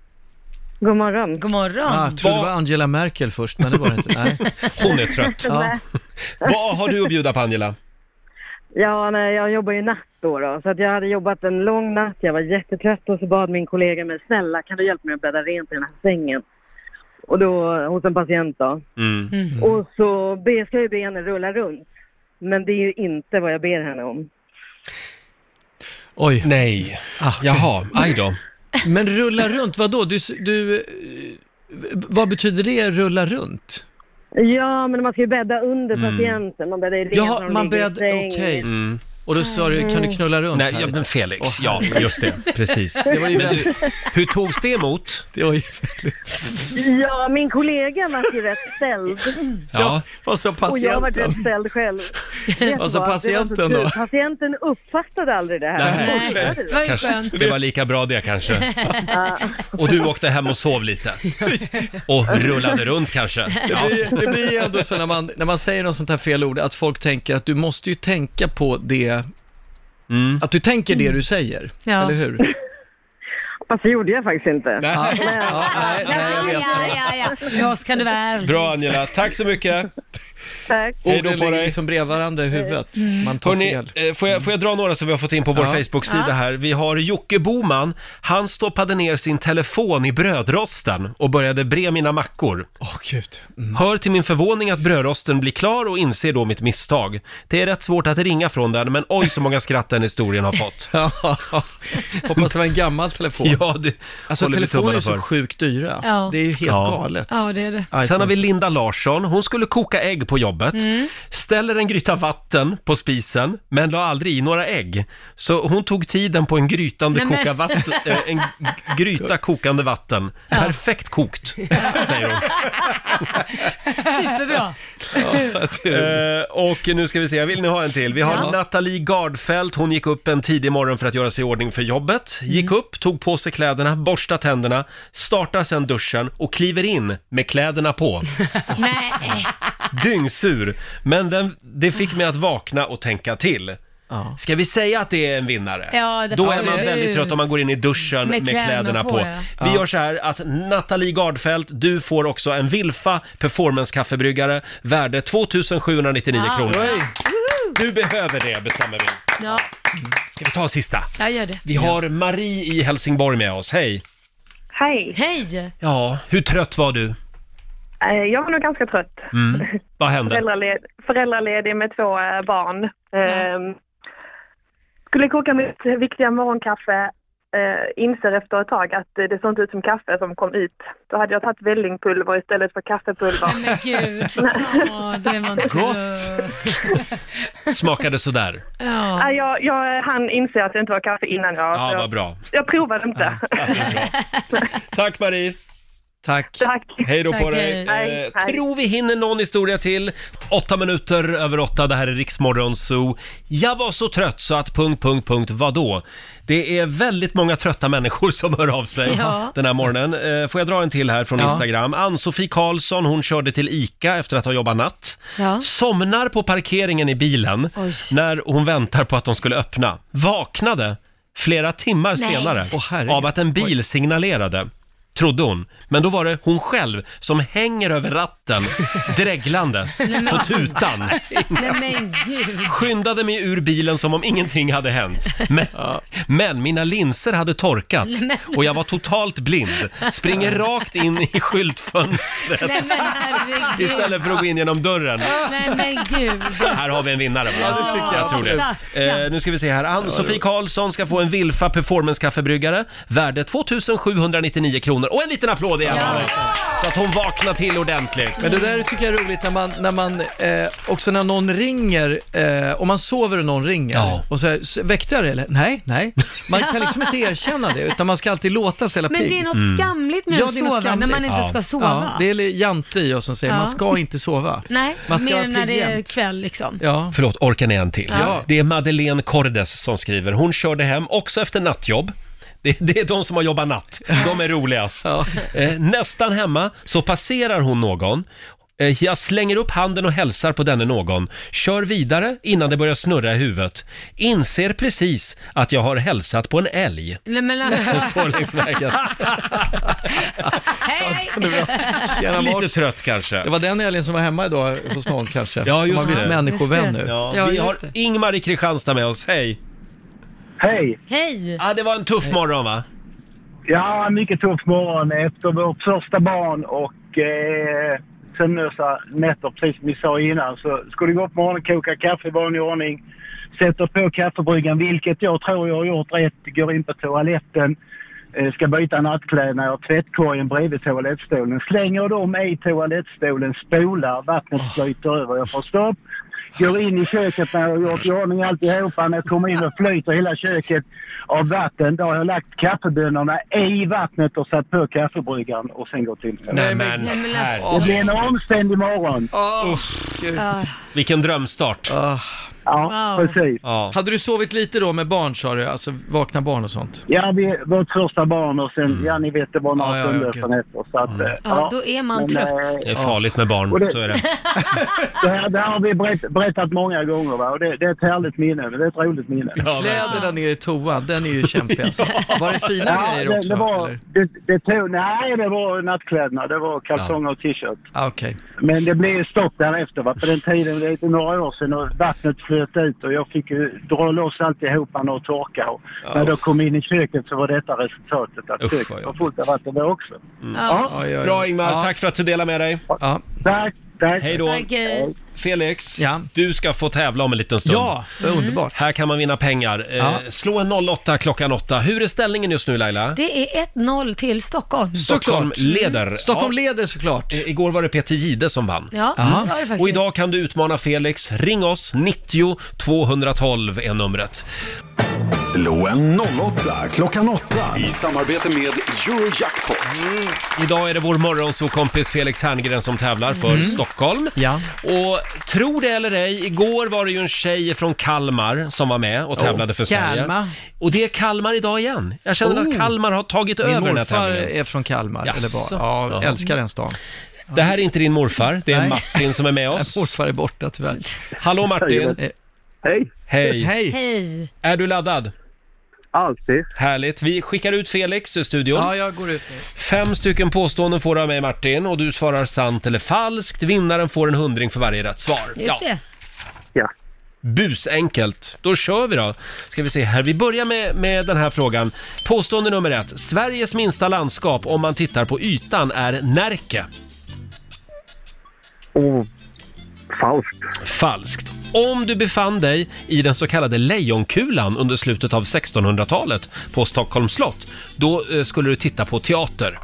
S14: God morgon.
S4: God morgon.
S10: Ah, jag trodde det var Angela Merkel först, men det var det inte. Nej.
S1: Hon är trött.
S14: Ja.
S1: Vad har du att bjuda på Angela?
S14: Ja, nej, jag jobbar ju natt då, då, så att jag hade jobbat en lång natt, jag var jättetrött och så bad min kollega mig, snälla kan du hjälpa mig att bädda rent i den här sängen? Och då, hos en patient då.
S1: Mm.
S14: Och så be, ska jag ju be henne rulla runt, men det är ju inte vad jag ber henne om.
S10: Oj. Ah,
S1: Nej. Jaha, aj då.
S10: Men rulla runt, vad då? Du, s- du, eh, vad betyder det, rulla runt?
S14: Ja, men man ska ju bädda under
S10: Mm.
S14: patienten, man bäddar ju rent när
S10: Jaha,
S14: de
S10: man
S14: ligger i
S10: bädd...
S14: säng.
S10: Okej. Och då sa du, kan du knulla runt
S1: Mm. Nej,
S10: här
S1: ja,
S10: lite?
S1: men Felix,
S10: Åh,
S1: ja,
S10: herregud.
S1: just det, precis.
S10: Det var ju
S1: Men
S10: väldigt...
S1: du, hur togs det emot?
S10: Det var ju
S14: Ja, min kollega var ju rätt ställd.
S1: Ja.
S10: Vad sa
S14: Och jag var
S10: patienten?
S14: rätt ställd själv. Vet du
S10: Alltså
S14: vad? Det var så
S10: patienten då?
S14: tur. Patienten uppfattade aldrig det här.
S1: Nej.
S14: Hon hörde det.
S1: Kanske, det var lika bra det kanske.
S14: Ja.
S1: Och du åkte hem och sov lite. Och rullade runt kanske.
S10: Det
S1: Ja.
S10: blir, det blir ju ändå så när man, när man säger något sånt här fel ord, att folk tänker att du måste ju tänka på det,
S1: Mm.
S10: att du tänker
S4: Mm.
S10: det du säger,
S14: Ja.
S10: eller hur?
S14: Fast det gjorde jag faktiskt inte.
S4: Ja, ja, ja, ja. Med oss kan du vara.
S1: Bra Angela, tack så mycket.
S14: Tack.
S1: Hej då
S10: Orden
S1: på
S10: ligger
S1: dig.
S10: liksom bredvid varandra i huvudet.
S4: Mm.
S10: Man tar
S1: Hörrni,
S10: fel. Mm.
S1: eh, får, jag, får jag dra några som vi har fått in på vår
S10: Ja.
S1: Facebook-sida
S10: Ja.
S1: här? Vi har Jocke Boman. Han stoppade ner sin telefon i brödrosten och började bre mina mackor.
S10: Åh gud. Mm.
S1: Hör till min förvåning att brödrosten blir klar och inser då mitt misstag. Det är rätt svårt att ringa från den, men oj så många skratt den historien har fått.
S10: Hoppas det var en gammal telefon.
S1: Ja, det
S10: Alltså
S1: håller vi
S10: telefoner
S1: tummarna
S10: är så
S1: för.
S10: sjukt dyra.
S4: Ja.
S10: Det är ju helt
S1: Ja.
S10: galet.
S4: Ja, det är det.
S1: Sen har vi Linda Larsson. Hon skulle koka ägg på jobbet.
S4: Mm.
S1: Ställer en gryta vatten på spisen, men la aldrig i några ägg. Så hon tog tiden på en, grytande
S4: Nej, men-
S1: koka vatten, eh, en g- gryta kokande vatten. Perfekt kokt, säger hon.
S4: Superbra.
S1: Eh, och nu ska vi se, vill ni ha en till? Vi har
S4: Ja.
S1: Nathalie Gardfeldt, hon gick upp en tidig morgon för att göra sig i ordning för jobbet. Gick
S4: Mm.
S1: upp, tog på sig kläderna, borstar tänderna, startar sedan duschen och kliver in med kläderna på.
S4: Nej.
S1: Dyngsur, men den, det fick mig att vakna och tänka till. Ska vi säga att det är en vinnare?
S4: Ja, det
S1: Då är
S4: absolut.
S1: man väldigt trött om man går in i duschen med, kläderna, på.
S4: ja.
S1: Vi
S4: Ja.
S1: gör så här att Nathalie Gardfeldt, du får också en Wilfa performance-kaffebryggare värde 2799
S4: Ja.
S1: kronor.
S4: Oj.
S1: Du behöver det, bestämmer vi.
S4: Ja,
S1: Ska vi ta en sista?
S4: jag gör det.
S1: Vi har Marie i Helsingborg med oss, hej!
S15: Hej.
S4: Hej.
S1: Ja, hur trött var du?
S15: Eh, Jag var nog ganska trött.
S1: Mm. Vad hände?
S15: Föräldraled, föräldraledig med två eh, barn. Eh, Skulle koka mitt viktiga morgonkaffe. Eh, inser efter ett tag att eh, det såg inte ut som kaffe som kom ut. Då hade jag tagit vällingpulver istället för kaffepulver.
S4: Men gud. Ja, det var inte
S1: Smakade sådär?
S15: Ja. Jag, jag hann inse att det inte var kaffe innan jag...
S1: Ja,
S15: jag,
S1: vad bra.
S15: jag provade inte.
S1: Tack Marie!
S10: Tack!
S15: Tack!
S1: Hej då på
S15: Tack,
S1: dig!
S15: hej. Hej,
S1: Eh,
S15: hej.
S1: tror vi hinner någon historia till. Åtta minuter över åtta, det här är Riksmorgon Zoo. Jag var så trött så att... Punkt, punkt, punkt, vadå? Det är väldigt många trötta människor som hör av sig
S4: Ja.
S1: den här morgonen. Eh, Får jag dra en till här från
S4: Ja.
S1: Instagram? Ann-Sofie Karlsson, hon körde till ICA efter att ha jobbat natt.
S4: Ja.
S1: Somnar på parkeringen i bilen
S4: Oj.
S1: när hon väntar på att de skulle öppna. Vaknade flera timmar
S4: Nej.
S1: senare
S4: Åh,
S1: av att en bil signalerade. trodde hon. Men då var det hon själv som hänger över ratten dreglandes
S4: Nej, men-
S1: på tutan.
S4: Nej men gud.
S1: Skyndade mig ur bilen som om ingenting hade hänt. Men, men mina linser hade torkat
S4: Men-
S1: och jag var totalt blind. Springer rakt in i skyltfönstret
S4: Nej men herregud.
S1: istället för att gå in genom dörren.
S4: Nej men gud.
S1: Här har vi en vinnare va?
S4: Ja, det tycker jag
S1: tror det.
S4: absolut.
S1: Eh, nu ska vi se här. Ann-Sofie Karlsson ska få en Wilfa Performance-kaffebryggare. Värde 2799 kronor. Och en liten applåd igen!
S10: Ja.
S1: av oss. Så att hon vaknar till ordentligt.
S10: Men det där tycker jag är roligt när man, när man eh, också när någon ringer, eh, om man sover och någon ringer, och så här, "S- väckte jag dig eller? Nej, nej. Man kan liksom inte erkänna det, utan man ska alltid låta sig hela
S4: Men
S10: pigg.
S4: det är något
S1: Mm.
S4: skamligt med
S10: Ja,
S4: att
S10: det är något
S4: sova när man
S10: skamligt.
S4: inte ska sova.
S10: Ja, det är li- Jante i oss som säger,
S4: Ja.
S10: man ska inte sova.
S4: Nej,
S10: man ska
S4: mer
S10: vara
S4: än när
S10: pigg
S4: det är
S10: jämt.
S4: kväll liksom.
S10: Ja.
S1: Förlåt, orkar ni en till?
S4: Ja.
S1: Det är Madeleine Cordes som skriver. Hon körde hem, också efter nattjobb. Det, det är de som har jobbat natt. De är roligast. Eh, nästan hemma så passerar hon någon. Eh, jag slänger upp handen och hälsar på denne någon. Kör vidare innan det börjar snurra i huvudet. Inser precis att jag har hälsat på en älg.
S4: Nej men
S1: Hon
S4: alltså.
S1: står längs vägen.
S4: Hej!
S10: Tjena,
S1: Lite
S10: Mars.
S1: trött kanske.
S10: Det var den älgen som var hemma idag hos någon kanske.
S1: Ja, just
S10: som har blivit
S1: det.
S10: människovän
S1: Just det.
S10: nu.
S1: Ja, vi har Ingmar i Kristianstad med oss. Hej!
S16: Hej!
S4: Hej!
S1: Ja, det var en tuff morgon va?
S16: Ja, mycket tuff morgon efter vårt första barn och eh, sömnlösa nätter, precis som vi sa innan. Så ska du gå upp på morgonen, koka kaffe i vanlig ordning, sätter på kaffebryggan, vilket jag tror jag har gjort rätt, går in på toaletten, eh, ska byta nattkläderna, jag har tvättkorgen bredvid toalettstolen, slänger dem i toalettstolen, spolar, vattnet flyter över, jag får stopp. Går in i köket när jag har gjort i ordning alltihopa. När jag kommer in och flyter hela köket av vatten. Då har jag lagt kaffebönorna i vattnet och satt på kaffebryggaren och sen gått in.
S1: Nej, men- Nej, men alltså.
S16: Det blir en omständig morgon.
S1: Vilken drömstart.
S16: Ja, precis.
S1: Ja.
S10: Ah. Hade du sovit lite då med barn sa du, alltså vakna barn och sånt?
S16: Ja, vi, vårt första barn och sen, ja ni vet det var några
S10: Ja, ja, ja,
S16: sömnlösa
S10: gud.
S16: nätter. Så att, eh,
S4: Ja, då är man
S16: Men,
S4: trött.
S16: eh,
S1: Det är farligt med barn,
S16: Och det-
S1: så är det.
S16: Det här, det här har vi berätt, berättat många gånger va? och det, det är ett härligt minne. Det är ett roligt minne.
S10: Kläderna nere i toan, den är ju kämpig alltså. Var det fina
S16: Ja,
S10: grejer
S16: det,
S10: också?
S16: Det var,
S10: eller?
S16: det, det tog, nej, det var nattkläderna. Det var kalsonger och t-shirt.
S10: Ah, Okej.
S16: Men det blev stopp därefter. Va? På den tiden, det är några år sedan, och vattnet flöt ut och jag fick ju dra loss alltihopa och torka. Och När jag kom in i köket så var detta resultatet. Att
S1: Usch, vad
S16: köket var fullt av vatten det också.
S4: Mm.
S16: Ja.
S1: Bra Ingmar, tack för att du delade med dig.
S16: Tack, tack.
S1: Hej då.
S4: Tack, hej.
S1: Felix, du ska få tävla om en liten stund.
S10: Ja, det är Mm. underbart.
S1: Här kan man vinna pengar. Eh,
S10: Ja.
S1: Slå en 08 klockan 8. Hur är ställningen just nu Laila?
S4: Det är 1-0 till Stockholm.
S1: Stockholm leder.
S10: Mm. Stockholm
S1: leder såklart. Igår var det Peter Gide som vann.
S4: Ja,
S1: Mm.
S4: det var det faktiskt.
S1: Och idag kan du utmana Felix. Ring oss, 90 212 är numret.
S3: Slå en 08 klockan 8 i samarbete med Eurojackpot.
S1: Mm. Idag är det vår morgonsåkompis Felix Herngren som tävlar för
S10: Mm.
S1: Stockholm.
S10: Ja.
S1: Och tro det eller ej, igår var det ju en tjej från Kalmar som var med och
S10: Ja.
S1: tävlade för Sverige.
S10: Kalmar.
S1: Och det är Kalmar idag igen. Jag känner att
S10: Oh.
S1: Kalmar har tagit
S10: Min
S1: över den här
S10: morfar
S1: tävlingen.
S10: är från Kalmar, eller
S1: Jaså?
S10: var. Ja,
S1: Ja.
S10: älskar den stan.
S1: Det här är inte din morfar, det är
S10: Nej.
S1: Martin som är med oss.
S10: Morfar är borta tyvärr.
S1: Hallå Martin!
S17: Hej!
S1: Hej!
S4: Hej.
S1: Är du laddad?
S17: Alltid.
S1: Härligt. Vi skickar ut Felix ur studion.
S10: Ja, jag går ut nu.
S1: Fem stycken påståenden får du av mig Martin och du svarar sant eller falskt. Vinnaren får en hundring för varje rätt svar.
S4: Just det.
S17: Ja.
S1: Busenkelt. Då kör vi då. Ska vi se här. Vi börjar med, med den här frågan. Påstående nummer ett. Sveriges minsta landskap om man tittar på ytan är Närke.
S17: Och Oh, falskt.
S1: Falskt. Om du befann dig i den så kallade Lejonkulan under slutet av 1600-talet på Stockholms slott, då eh, skulle du titta på teater.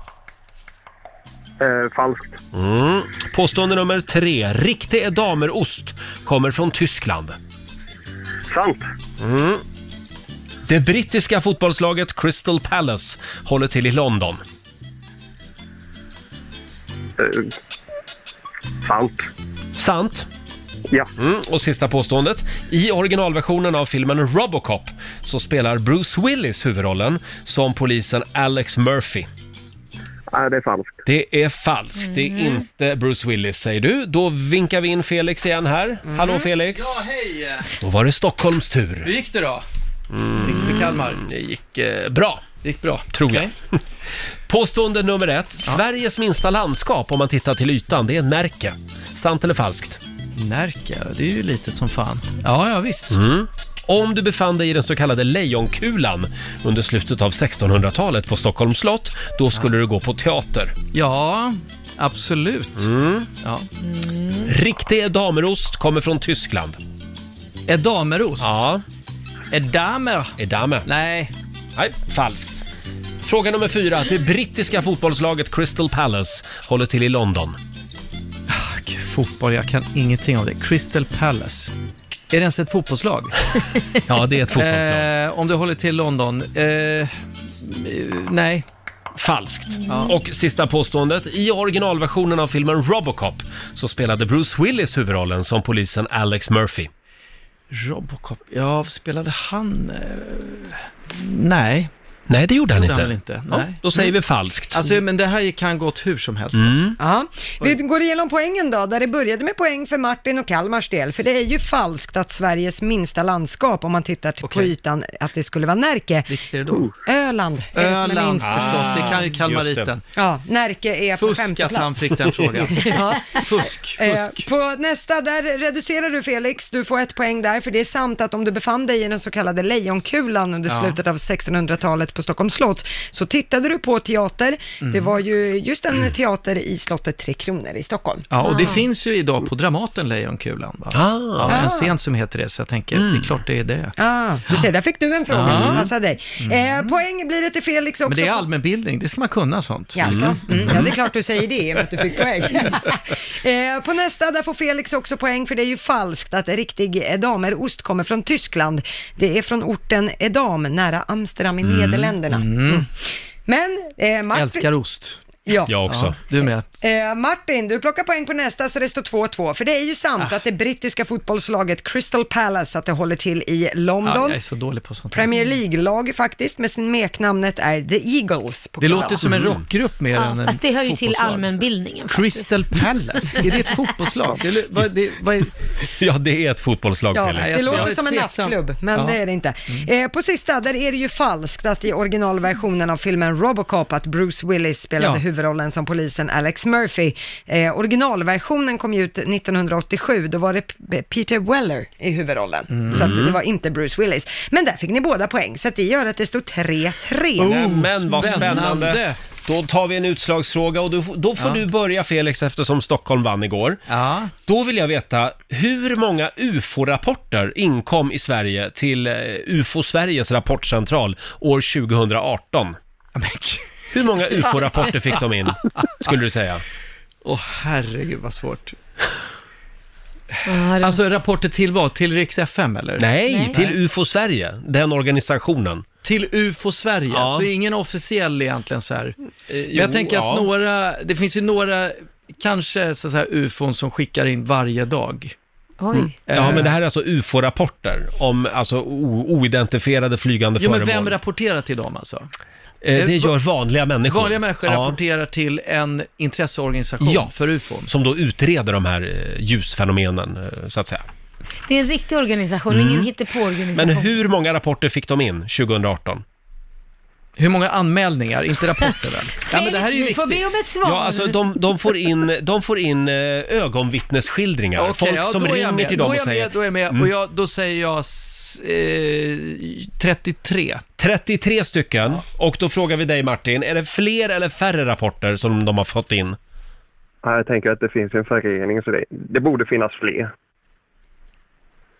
S17: Eh, falskt.
S1: Mm. Påstående nummer tre. Riktig är damerost kommer från Tyskland.
S17: Sant.
S1: Mm. Det brittiska fotbollslaget Crystal Palace håller till i London.
S17: Eh, sant.
S1: Sant?
S17: Ja.
S1: Mm. Och sista påståendet. I originalversionen av filmen Robocop så spelar Bruce Willis huvudrollen som polisen Alex Murphy.
S17: Nej, det är falskt.
S1: Det är falskt. Det är inte Bruce Willis säger du. Då vinkar vi in Felix igen här. Hallå Felix!
S10: Ja, Ah, hej!
S1: Då var det Stockholms tur.
S10: Hur gick det då?
S1: Mm.
S10: Gick det för Kalmar?
S1: Det gick eh, bra.
S10: Det gick bra.
S1: Tror jag. Påstående nummer ett. Sveriges minsta landskap om man tittar till ytan, det är Närke. Sant eller falskt?
S10: Närke, det är ju litet som fan. Ja, ja visst.
S1: Mm. Om du befann dig i den så kallade Lejonkulan under slutet av 1600-talet på Stockholms slott, då skulle du gå på teater. Mm.
S10: Ja, absolut. Ja.
S1: Riktig edamerost kommer från Tyskland.
S10: Edamerost?
S1: Ja.
S10: Edamer?
S1: Edamer.
S10: Nej.
S1: Nej, falskt. Fråga nummer fyra. Det brittiska fotbollslaget Crystal Palace håller till i London.
S10: Fotboll, jag kan ingenting om det. Crystal Palace. Är det ens ett fotbollslag?
S1: Ja, det är ett fotbollslag.
S10: Eh, om det håller till London? Eh, eh, nej.
S1: Falskt. Och sista påståendet. I originalversionen av filmen Robocop så spelade Bruce Willis huvudrollen som polisen Alex Murphy.
S10: Robocop, ja, spelade han... Eh, nej.
S1: Nej, det gjorde han inte. Ja,
S10: nej.
S1: då säger vi falskt.
S10: Alltså, men det här kan gått hur som helst.
S1: Mm.
S10: Alltså.
S2: Vi går igenom poängen då, där det började med poäng för Martin och Kalmars del, för det är ju falskt att Sveriges minsta landskap, om man tittar till på ytan, att det skulle vara Närke.
S10: Vilket är det då?
S2: Öland. är det som är
S10: Öland
S2: minst.
S10: förstås, det kan
S1: Ah,
S10: ju
S2: Just det.
S10: Kalmariten.
S2: Ja, Närke är på
S10: Fusk
S2: femte
S10: att
S2: plats.
S10: han fick den frågan.
S2: ja.
S10: Fusk,
S2: Eh,
S10: fusk.
S2: på nästa, där reducerar du Felix, du får ett poäng där, för det är sant att om du befann dig i den så kallade Lejonkulan under
S10: Ja.
S2: slutet av 1600-talet på Stockholms slott, så tittade du på teater.
S10: Mm.
S2: Det var ju just en teater i slottet Tre Kronor i Stockholm. Ah.
S10: Ja, och det finns ju idag på Dramaten Lejonkulan. Va?
S1: Ah.
S10: Ja, en scen som heter det, så jag tänker,
S1: Mm.
S10: det är klart det är det.
S2: Ah, du ser, där fick du en fråga
S10: Ja. Mm.
S2: som passade dig. Eh, poäng blir det till Felix också.
S10: Men det är allmänbildning, det ska man kunna sånt.
S2: Jaså? Mm. Ja, det är klart du säger det i och med att du fick poäng. eh, på nästa, där får Felix också poäng, för det är ju falskt att riktig edamerost kommer från Tyskland. Det är från orten Edam, nära Amsterdam i Nederländerna. Mm. Men eh, Martin...
S10: Mm. Älskar ost.
S2: Ja.
S10: Jag också. du med.
S2: Eh, Martin, du plockar poäng på nästa så det står 2-2, för det är ju sant
S10: Ah.
S2: att det brittiska fotbollslaget Crystal Palace, att det håller till i London.
S10: Ja, jag är så dålig på sånt.
S2: Premier League-lag faktiskt, med smeknamnet är The Eagles. på
S10: Det
S2: kvällarna.
S10: låter som en
S1: Mm.
S10: rockgrupp mer än
S4: Mm. Ja,
S10: en
S4: fast det hör ju till
S10: fotbollslag.
S4: allmänbildningen.
S10: Crystal Palace, är det ett fotbollslag? Eller, vad, det, vad är...
S1: Ja, det är ett fotbollslag,
S2: Ja,
S1: Felix.
S2: det låter som en nattklubb, men
S1: Ja. Mm.
S2: det är det inte. Eh, på sista, där är det ju falskt att i originalversionen av filmen Robocop att Bruce Willis spelade
S10: Ja.
S2: huvudrollen som polisen Alex Murphy. Eh, originalversionen kom ju ut 1987, då var det P- Peter Weller i huvudrollen.
S1: Mm.
S2: Så att det var inte Bruce Willis. Men där fick ni båda poäng, så att det gör att det står 3-3.
S10: Oh,
S1: men vad Oh, spännande. Då tar vi en utslagsfråga och du, f- då får
S2: Ja.
S1: du börja Felix eftersom Stockholm vann igår. Då vill jag veta, hur många UFO-rapporter inkom i Sverige till eh, UFO-Sveriges rapportcentral år 2018? Hur många UFO-rapporter fick de in, skulle du säga?
S10: Åh herregud vad svårt. Alltså rapporter till vad? Till Rix FM eller?
S1: Nej, till UFO Sverige, den organisationen.
S10: Till UFO Sverige,
S1: Ja. Eh,
S10: så ingen officiell egentligen så här. Men
S1: jo,
S10: jag tänker att
S1: ja.
S10: några, det finns ju några, kanske så här ufon som skickar in varje dag.
S1: Mm.
S10: Eh.
S1: Ja, men det här är alltså UFO-rapporter om alltså, o- oidentifierade flygande
S10: Jo men
S1: föremål.
S10: vem rapporterar till dem alltså?
S1: Eh, det gör vanliga människor.
S10: Vanliga människor
S1: Ja.
S10: rapporterar till en intresseorganisation
S1: Ja.
S10: för ufon.
S1: Som då utreder de här eh, ljusfenomenen, eh, så att säga.
S4: Det är en riktig organisation,
S1: Mm.
S4: ingen hittepåorganisation.
S1: Men hur många rapporter fick de in 2018?
S10: Hur många anmälningar, inte rapporter väl? ja, men det här är ju
S4: Felix, du får
S10: viktigt.
S4: be om ett svar.
S1: Ja, alltså de, de får in, de får in eh, ögonvittnesskildringar.
S10: Okej,
S1: Folk
S10: ja,
S1: som
S10: då är jag
S1: ringer
S10: med,
S1: till dem
S10: då är
S1: och
S10: jag
S1: säger...
S10: Med, då är jag med,
S1: Mm.
S10: och jag, då säger jag s- eh, 33.
S1: 33 stycken. Och då frågar vi dig Martin, är det fler eller färre rapporter som de har fått in?
S17: Ja, Jag tänker att det finns en förening, så det, det borde finnas fler.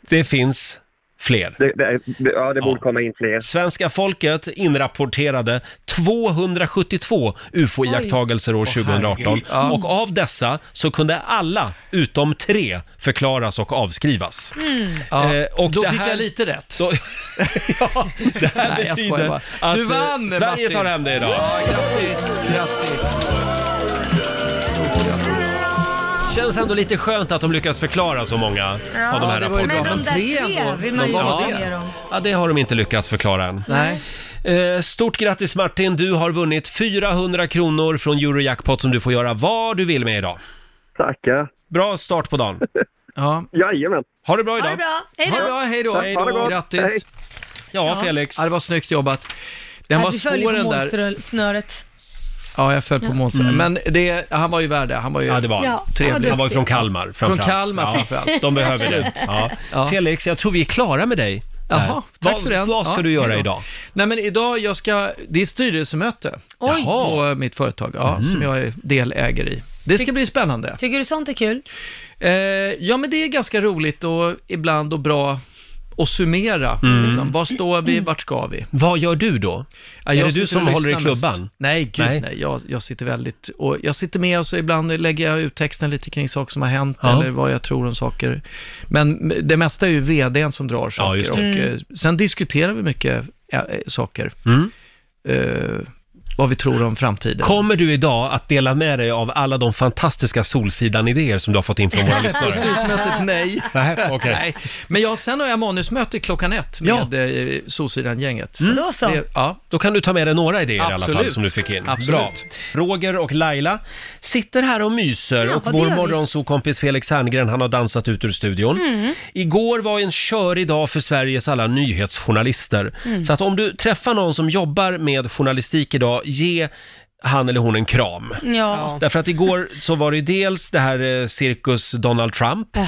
S1: Det finns fler.
S17: Det, det, är- det, ja, det borde komma in fler.
S1: Svenska folket inrapporterade 272 UFO-iakttagelser år
S17: Åh,
S1: 2018
S17: herregud. Ja.
S1: och av dessa så kunde alla utom tre förklaras och avskrivas.
S10: Mm. Ja,
S1: Eh, och
S10: då
S1: det
S10: fick
S1: här-
S10: jag lite rätt.
S1: Då, ja, det här
S10: Nej, jag skojar
S1: betyder
S10: bara.
S1: att
S10: Du
S1: eh,
S10: vann,
S1: Sverige
S10: Martin.
S1: tar hem det idag.
S10: Ja, grattis, grattis.
S1: Känns ändå lite skönt att de lyckas förklara så många
S4: Ja,
S1: av de här
S4: det var ju
S1: rapporterna.
S4: bra. Men de där tre ändå, vill man ju vad var veta det? mer om.
S1: Ja, det har de inte lyckats förklara än. Eh, Stort grattis Martin, du har vunnit 400 kronor från Eurojackpot som du får göra vad du vill med idag.
S17: Tackar.
S1: Bra start på dagen.
S10: ja.
S17: Jajamän.
S1: Ha det bra
S4: Ha
S1: idag.
S4: det bra, hej
S10: Ha det
S4: då!
S10: bra, hej då.
S1: Tack, ha det gott.
S10: Grattis.
S1: Hej. Ja, Felix.
S10: Ja, det var snyggt jobbat. Den var
S4: du
S10: svår
S4: följer på
S10: den där.
S4: målsnöret.
S10: Ja, jag föll på
S4: Ja.
S10: målsnöret.
S4: Mm.
S10: Men det, han var ju värd det. Han var ju
S1: Ja, det var han. Ja, han var
S10: trevlig.
S1: Han var ju duktig. från Kalmar,
S10: Från
S1: framförallt.
S10: Kalmar
S1: Ja,
S10: framförallt.
S1: de behöver det. Ja. Felix, jag tror vi är klara med dig.
S10: Jaha,
S1: Vad-
S10: tack för den.
S1: vad ska du göra idag?
S10: Nej, men idag jag ska, det är styrelsemöte
S4: Oj.
S10: på mitt företag, ja,
S4: Mm.
S10: som jag är delägare i. Det ska
S4: Tyck-
S10: bli spännande.
S4: Tycker du sånt är kul?
S10: Eh, ja, men det är ganska roligt och ibland och bra att summera.
S1: Mm.
S10: Liksom. Var står vi, vart ska vi?
S1: Vad gör du då?
S10: Ja,
S1: är
S10: jag
S1: det du
S10: sitter
S1: som
S10: och
S1: håller i
S10: lyssnar mest.
S1: klubban?
S10: Nej, gud nej.
S1: Nej.
S10: Jag, jag sitter väldigt... Och jag sitter med och så ibland lägger jag ut texten lite kring saker som har hänt
S1: Ja.
S10: eller vad jag tror om saker. Men det mesta är ju vdn som drar saker.
S1: just
S10: och,
S1: det.
S10: eh,
S1: Mm.
S10: Sen diskuterar vi mycket eh, eh, saker. Eh, vad vi tror om framtiden.
S1: Kommer du idag att dela med dig av alla de fantastiska Solsidan-idéer som du har fått in från våra lyssnare?
S10: Styrelsemötet, nej.
S1: Nej, okej.
S10: nej. Men jag, sen har jag manusmöte klockan ett med ja. Solsidan-gänget.
S1: Mm.
S10: att det- Ja.
S1: Då kan du ta med dig några idéer i alla fall
S10: Absolut.
S1: som du fick in.
S10: Absolut.
S1: Bra. Roger och Laila sitter här och myser och
S4: det
S1: vår
S4: gör vi.
S1: morgonsokompis Felix Herngren han har dansat ut ur studion.
S4: Mm.
S1: Igår var en körig dag för Sveriges alla nyhetsjournalister.
S4: Mm.
S1: Så att om du träffar någon som jobbar med journalistik idag, ge han eller hon en kram.
S4: Ja.
S1: Därför att igår så var det ju dels det här eh, cirkus Donald Trump. Eh,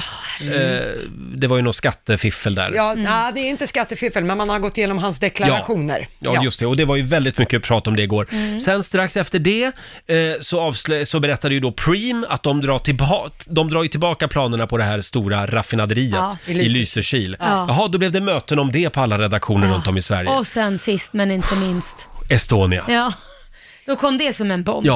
S1: det var ju något skattefiffel där.
S2: Ja, nej, det är inte skattefiffel, men man har gått igenom hans deklarationer.
S1: Ja, just det. Och det var ju väldigt mycket prat om det igår.
S2: Mm.
S1: Sen strax efter det eh, så, avslö- så berättade ju då Preem att de drar, tillba- de drar ju tillbaka planerna på det här stora raffinaderiet
S4: Ja, i
S1: i,
S4: Lysekil.
S1: Lysekil.
S4: Ja.
S1: Jaha, då blev det möten om det på alla redaktioner runt om i Sverige.
S4: Och sen sist men inte minst.
S1: Estonia. Ja.
S4: Ja. Då kom det som en bomb.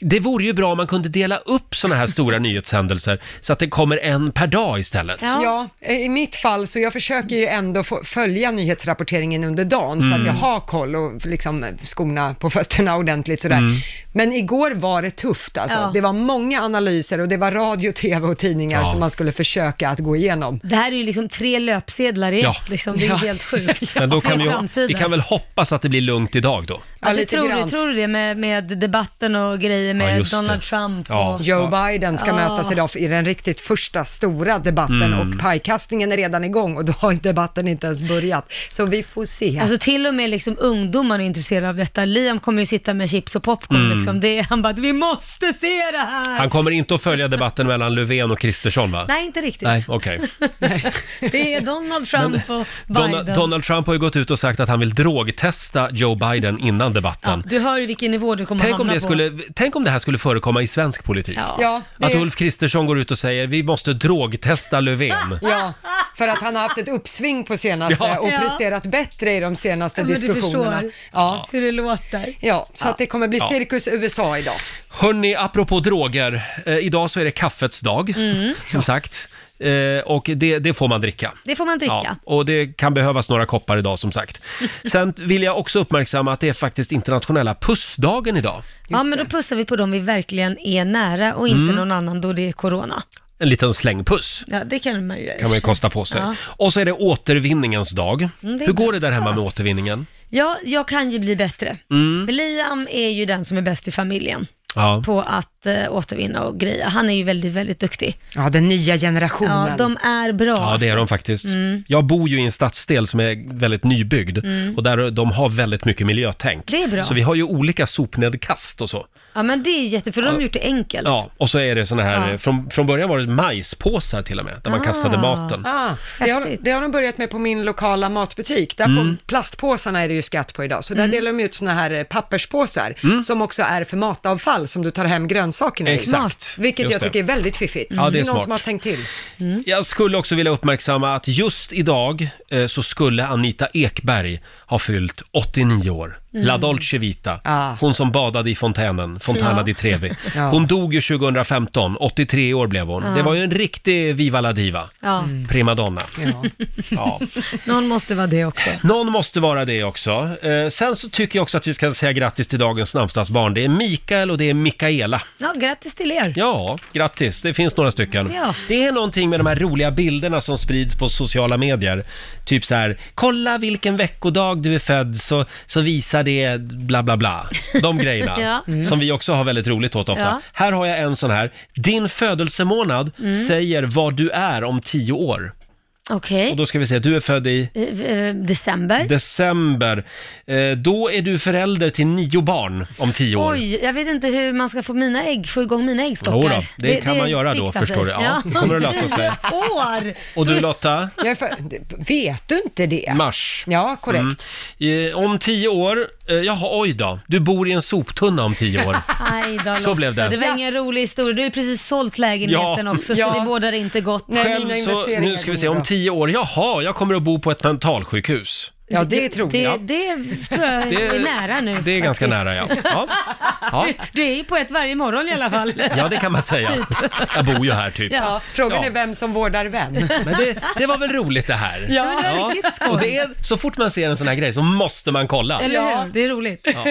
S1: Det vore ju bra om man kunde dela upp sådana här stora nyhetshändelser så att det kommer en per dag istället.
S2: Ja. eh, i mitt fall så jag försöker ju ändå få följa nyhetsrapporteringen under dagen så att
S1: Mm.
S2: jag har koll och liksom skorna på fötterna ordentligt sådär.
S1: Mm.
S2: Men igår var det tufft alltså.
S4: Ja.
S2: Det var många analyser och det var radio, tv och tidningar
S1: Ja.
S2: som man skulle försöka att gå igenom.
S4: Det här är ju liksom tre löpsedlar i
S1: Ja.
S4: ett, liksom. det är
S2: Ja.
S4: helt sjukt.
S1: Men då kan
S4: tre
S1: vi,
S4: framsidor.
S1: vi kan väl hoppas att det blir lugnt idag då.
S4: Ja, det
S2: lite
S4: tror, du,
S2: grann.
S4: tror du det med, med debatten och grejer med
S1: just det.
S4: Donald Trump
S1: Ja.
S4: och...
S2: Joe Biden ska
S4: Ja.
S2: mötas idag i den riktigt första stora debatten
S4: Mm.
S2: och pajkastningen är redan igång och då har debatten inte ens börjat. Så vi får se.
S4: Alltså till och med liksom ungdomar är intresserade av detta. Liam kommer ju sitta med chips och popcorn
S1: Mm.
S4: liksom. Det, är- han bara, vi måste se det här!
S1: Han kommer inte att följa debatten mellan Löfven och Kristersson va?
S4: Nej, inte riktigt.
S1: Nej, okej.
S4: Det är Donald Trump och Biden.
S1: Donald, Donald Trump har ju gått ut och sagt att han vill drogtesta Joe Biden innan debatten.
S4: Du hör ju vilken nivå du kommer
S1: Tänk om,
S4: hamna
S1: det
S4: på.
S1: skulle, tänk om det här skulle förekomma i svensk politik.
S4: Ja. Ja,
S2: det-
S1: Att Ulf Kristersson går ut och säger vi måste drogtesta Löfven.
S2: Ja, för att han har haft ett uppsving på senaste
S1: Ja.
S2: och
S4: Ja.
S2: presterat bättre i de senaste
S4: Ja, men du
S2: diskussionerna.
S4: förstår.
S2: Ja.
S4: Hur det låter.
S2: ja, så att det kommer bli
S1: Ja.
S2: cirkus USA idag.
S1: Hörni, apropå droger. Eh, idag så är det kaffets dag,
S4: Mm.
S1: som sagt. Eh, och det, det får man dricka.
S4: Det får man dricka.
S1: och det kan behövas några koppar idag som sagt. Sen vill jag också uppmärksamma att det är faktiskt internationella pussdagen idag.
S4: Ja, men då pussar vi på dem vi verkligen är nära och inte
S1: Mm.
S4: någon annan då det är corona.
S1: En liten slängpuss
S4: Ja, det kan man ju göra.
S1: kan man ju kosta på sig.
S4: Ja.
S1: Och så är det återvinningens dag.
S4: Mm, det är
S1: Hur går det där hemma med återvinningen?
S4: Ja, jag kan ju bli bättre.
S1: Mm.
S4: Liam är ju den som är bäst i familjen
S1: Ja.
S4: på att eh, återvinna och greja. Han är ju väldigt, väldigt duktig.
S2: Ja, den nya generationen.
S4: Ja, de är bra.
S1: Ja, det är de faktiskt.
S4: Mm.
S1: Jag bor ju i en stadsdel som är väldigt nybyggd
S4: Mm.
S1: och där de har väldigt mycket miljötänk.
S4: Det är bra.
S1: Så vi har ju olika sopnedkast och så.
S4: Ja, men det är ju jätte, för de har gjort det enkelt.
S1: Ja, och så är det såna här,
S4: Ja.
S1: från, från början var det majspåsar till och med, där man kastade maten.
S2: Ah, det, har, det har de börjat med på min lokala matbutik. Där
S1: Mm.
S2: får, plastpåsarna är det ju skatt på idag,
S4: Mm.
S2: så där delar de ut såna här eh, papperspåsar som också är för matavfall som du tar hem grönsakerna i.
S1: Mm. Exakt. Smart.
S2: Vilket
S1: Just
S2: jag
S1: det.
S2: tycker är väldigt fiffigt.
S1: Ja, det är
S2: någon
S1: smart.
S2: som har tänkt till.
S1: Mm. Jag skulle också vilja uppmärksamma att just idag eh, så skulle Anita Ekberg ha fyllt 89 år.
S4: Mm. Ah.
S1: La Dolce Vita, hon som badade i fontänen, Fontana
S4: Ja.
S1: di Trevi.
S4: Ja.
S1: Hon dog ju 2015, 83 år blev hon.
S4: Ja.
S1: Det var ju en riktig Viva la Diva,
S4: Ja.
S1: Mm. primadonna. Ja.
S4: Någon måste vara det också.
S1: Någon måste vara det också. Eh, sen så tycker jag också att vi ska säga grattis till dagens namnsdagsbarn. Det är Mikael och det är Mikaela.
S4: Ja, grattis till er.
S1: Ja, grattis. Det finns några stycken.
S4: Ja.
S1: Det är någonting med de här roliga bilderna som sprids på sociala medier. Typ så här, kolla vilken veckodag du är född så, så visar det bla bla bla. De grejerna
S4: Ja. Mm.
S1: som vi också har väldigt roligt åt ofta.
S4: Ja.
S1: Här har jag en sån här. Din födelsemånad
S4: Mm.
S1: säger vad du är om tio år.
S4: Okej.
S1: Och då ska vi se, du är född i
S4: Eh, eh, December.
S1: december. Eh, då är du förälder till nio barn om tio år.
S4: Oj, jag vet inte hur man ska få mina ägg, få igång mina äggstockar.
S1: Jo då, det kan man göra då,
S4: fixar
S1: förstår
S4: sig.
S1: du. Ja, det kommer att lösa sig.
S4: År!
S1: Och du Lotta?
S2: Jag är för, vet du inte det?
S1: Mars.
S2: Ja, korrekt.
S1: Mm. Eh, om tio år, eh, jaha, oj då. Du bor i en soptunna om tio år.
S4: Aj då,
S1: Så
S4: Lotta.
S1: blev det.
S4: Det var ingen rolig historia. Du har ju precis sålt lägenheten
S1: Ja.
S4: också, så
S1: Ja.
S4: det bådar inte gott.
S1: så, nu ska vi se, om tio år, jaha, jag kommer att bo på ett mentalsjukhus.
S2: Ja, det tror
S4: Det,
S1: jag.
S4: det tror jag
S1: Det-
S4: är nära nu.
S1: Det är ganska
S4: faktiskt.
S1: nära, ja. ja. Ja.
S4: Du, du är ju på ett varje morgon i alla fall.
S1: Ja, det kan man säga.
S4: Typ.
S1: Jag bor ju här typ.
S4: Ja,
S2: Frågan
S1: Ja.
S2: är vem som vårdar vem.
S1: Men det, det var väl roligt det här?
S2: Ja, det var riktigt skoj.
S1: Och det är, så fort man ser en sån här grej så måste man kolla.
S4: Eller hur? Det är roligt.
S1: Ja.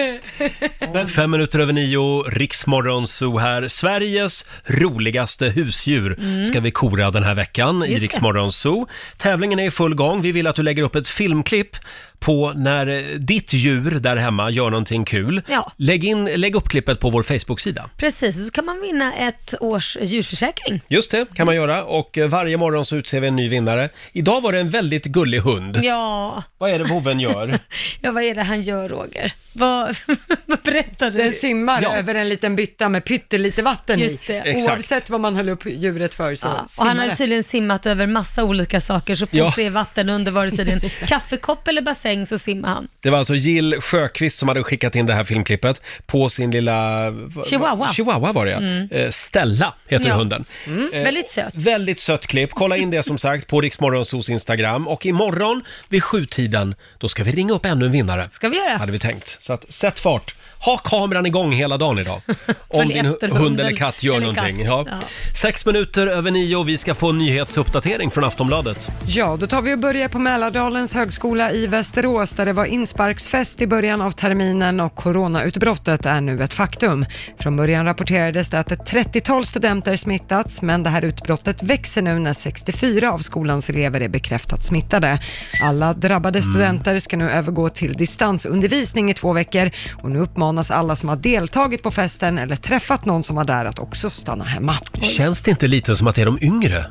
S4: Mm.
S1: Fem minuter över nio, Riksmorgon Zoo här. Sveriges roligaste husdjur
S4: Mm.
S1: ska vi kora den här veckan
S4: Just
S1: i
S4: det.
S1: Riksmorgon Zoo. Tävlingen är i full gång. Vi vill att du lägger upp ett filmklipp på när eh, ditt djur där hemma gör någonting kul.
S4: Ja.
S1: Lägg, in, lägg upp klippet på vår Facebook-sida.
S4: Precis, och så kan man vinna ett års djurförsäkring.
S1: Just det, kan man göra. Och eh, varje morgon så utser vi en ny vinnare. Idag var det en väldigt gullig hund.
S4: Ja,
S1: Vad är det vovven gör?
S4: ja vad är det han gör Roger? Vad, vad berättar du?
S2: Den simmar
S1: Ja.
S2: över en liten bytta med pyttelite vatten
S4: Just det.
S2: i.
S4: Exakt.
S2: Oavsett vad man höll upp djuret för så
S4: Ja, och
S2: simmar
S4: han har
S2: det.
S4: tydligen simmat över massa olika saker, så fort
S1: Ja.
S4: det är vatten under vare sig det är en kaffekopp eller bassäng så simmar han.
S1: Det var alltså Jill Sjöqvist som hade skickat in det här filmklippet på sin lilla... va-
S4: Chihuahua.
S1: Chihuahua var det, ja.
S4: Mm.
S1: Eh, Stella heter
S4: Ja.
S1: hunden.
S4: Mm.
S1: Eh,
S4: Väldigt söt.
S1: Väldigt sött klipp. Kolla in det som sagt på Riksmorgonsos Instagram. Och imorgon vid sjutiden, då ska vi ringa upp ännu en vinnare.
S4: Ska vi göra.
S1: Hade vi tänkt. Så att, sätt fart. Ha kameran igång hela dagen idag. Om
S4: Följ
S1: din
S4: efter
S1: hu- hund
S4: hunden
S1: eller katt gör
S4: eller
S1: någonting.
S4: katt.
S1: Ja.
S4: Ja.
S1: Sex minuter över nio och vi ska få en nyhetsuppdatering från Aftonbladet.
S2: Ja, då tar vi och börjar på Mälardalens högskola i Västerås där det var insparksfest i början av terminen och coronautbrottet är nu ett faktum. Från början rapporterades det att ett 30-tal studenter smittats men det här utbrottet växer nu när 64 av skolans elever är bekräftat smittade. Alla drabbade studenter ska nu övergå till distansundervisning i två veckor och nu uppmanas alla som har deltagit på festen eller träffat någon som var där att också stanna hemma.
S1: Känns det inte lite som att det är de yngre eh,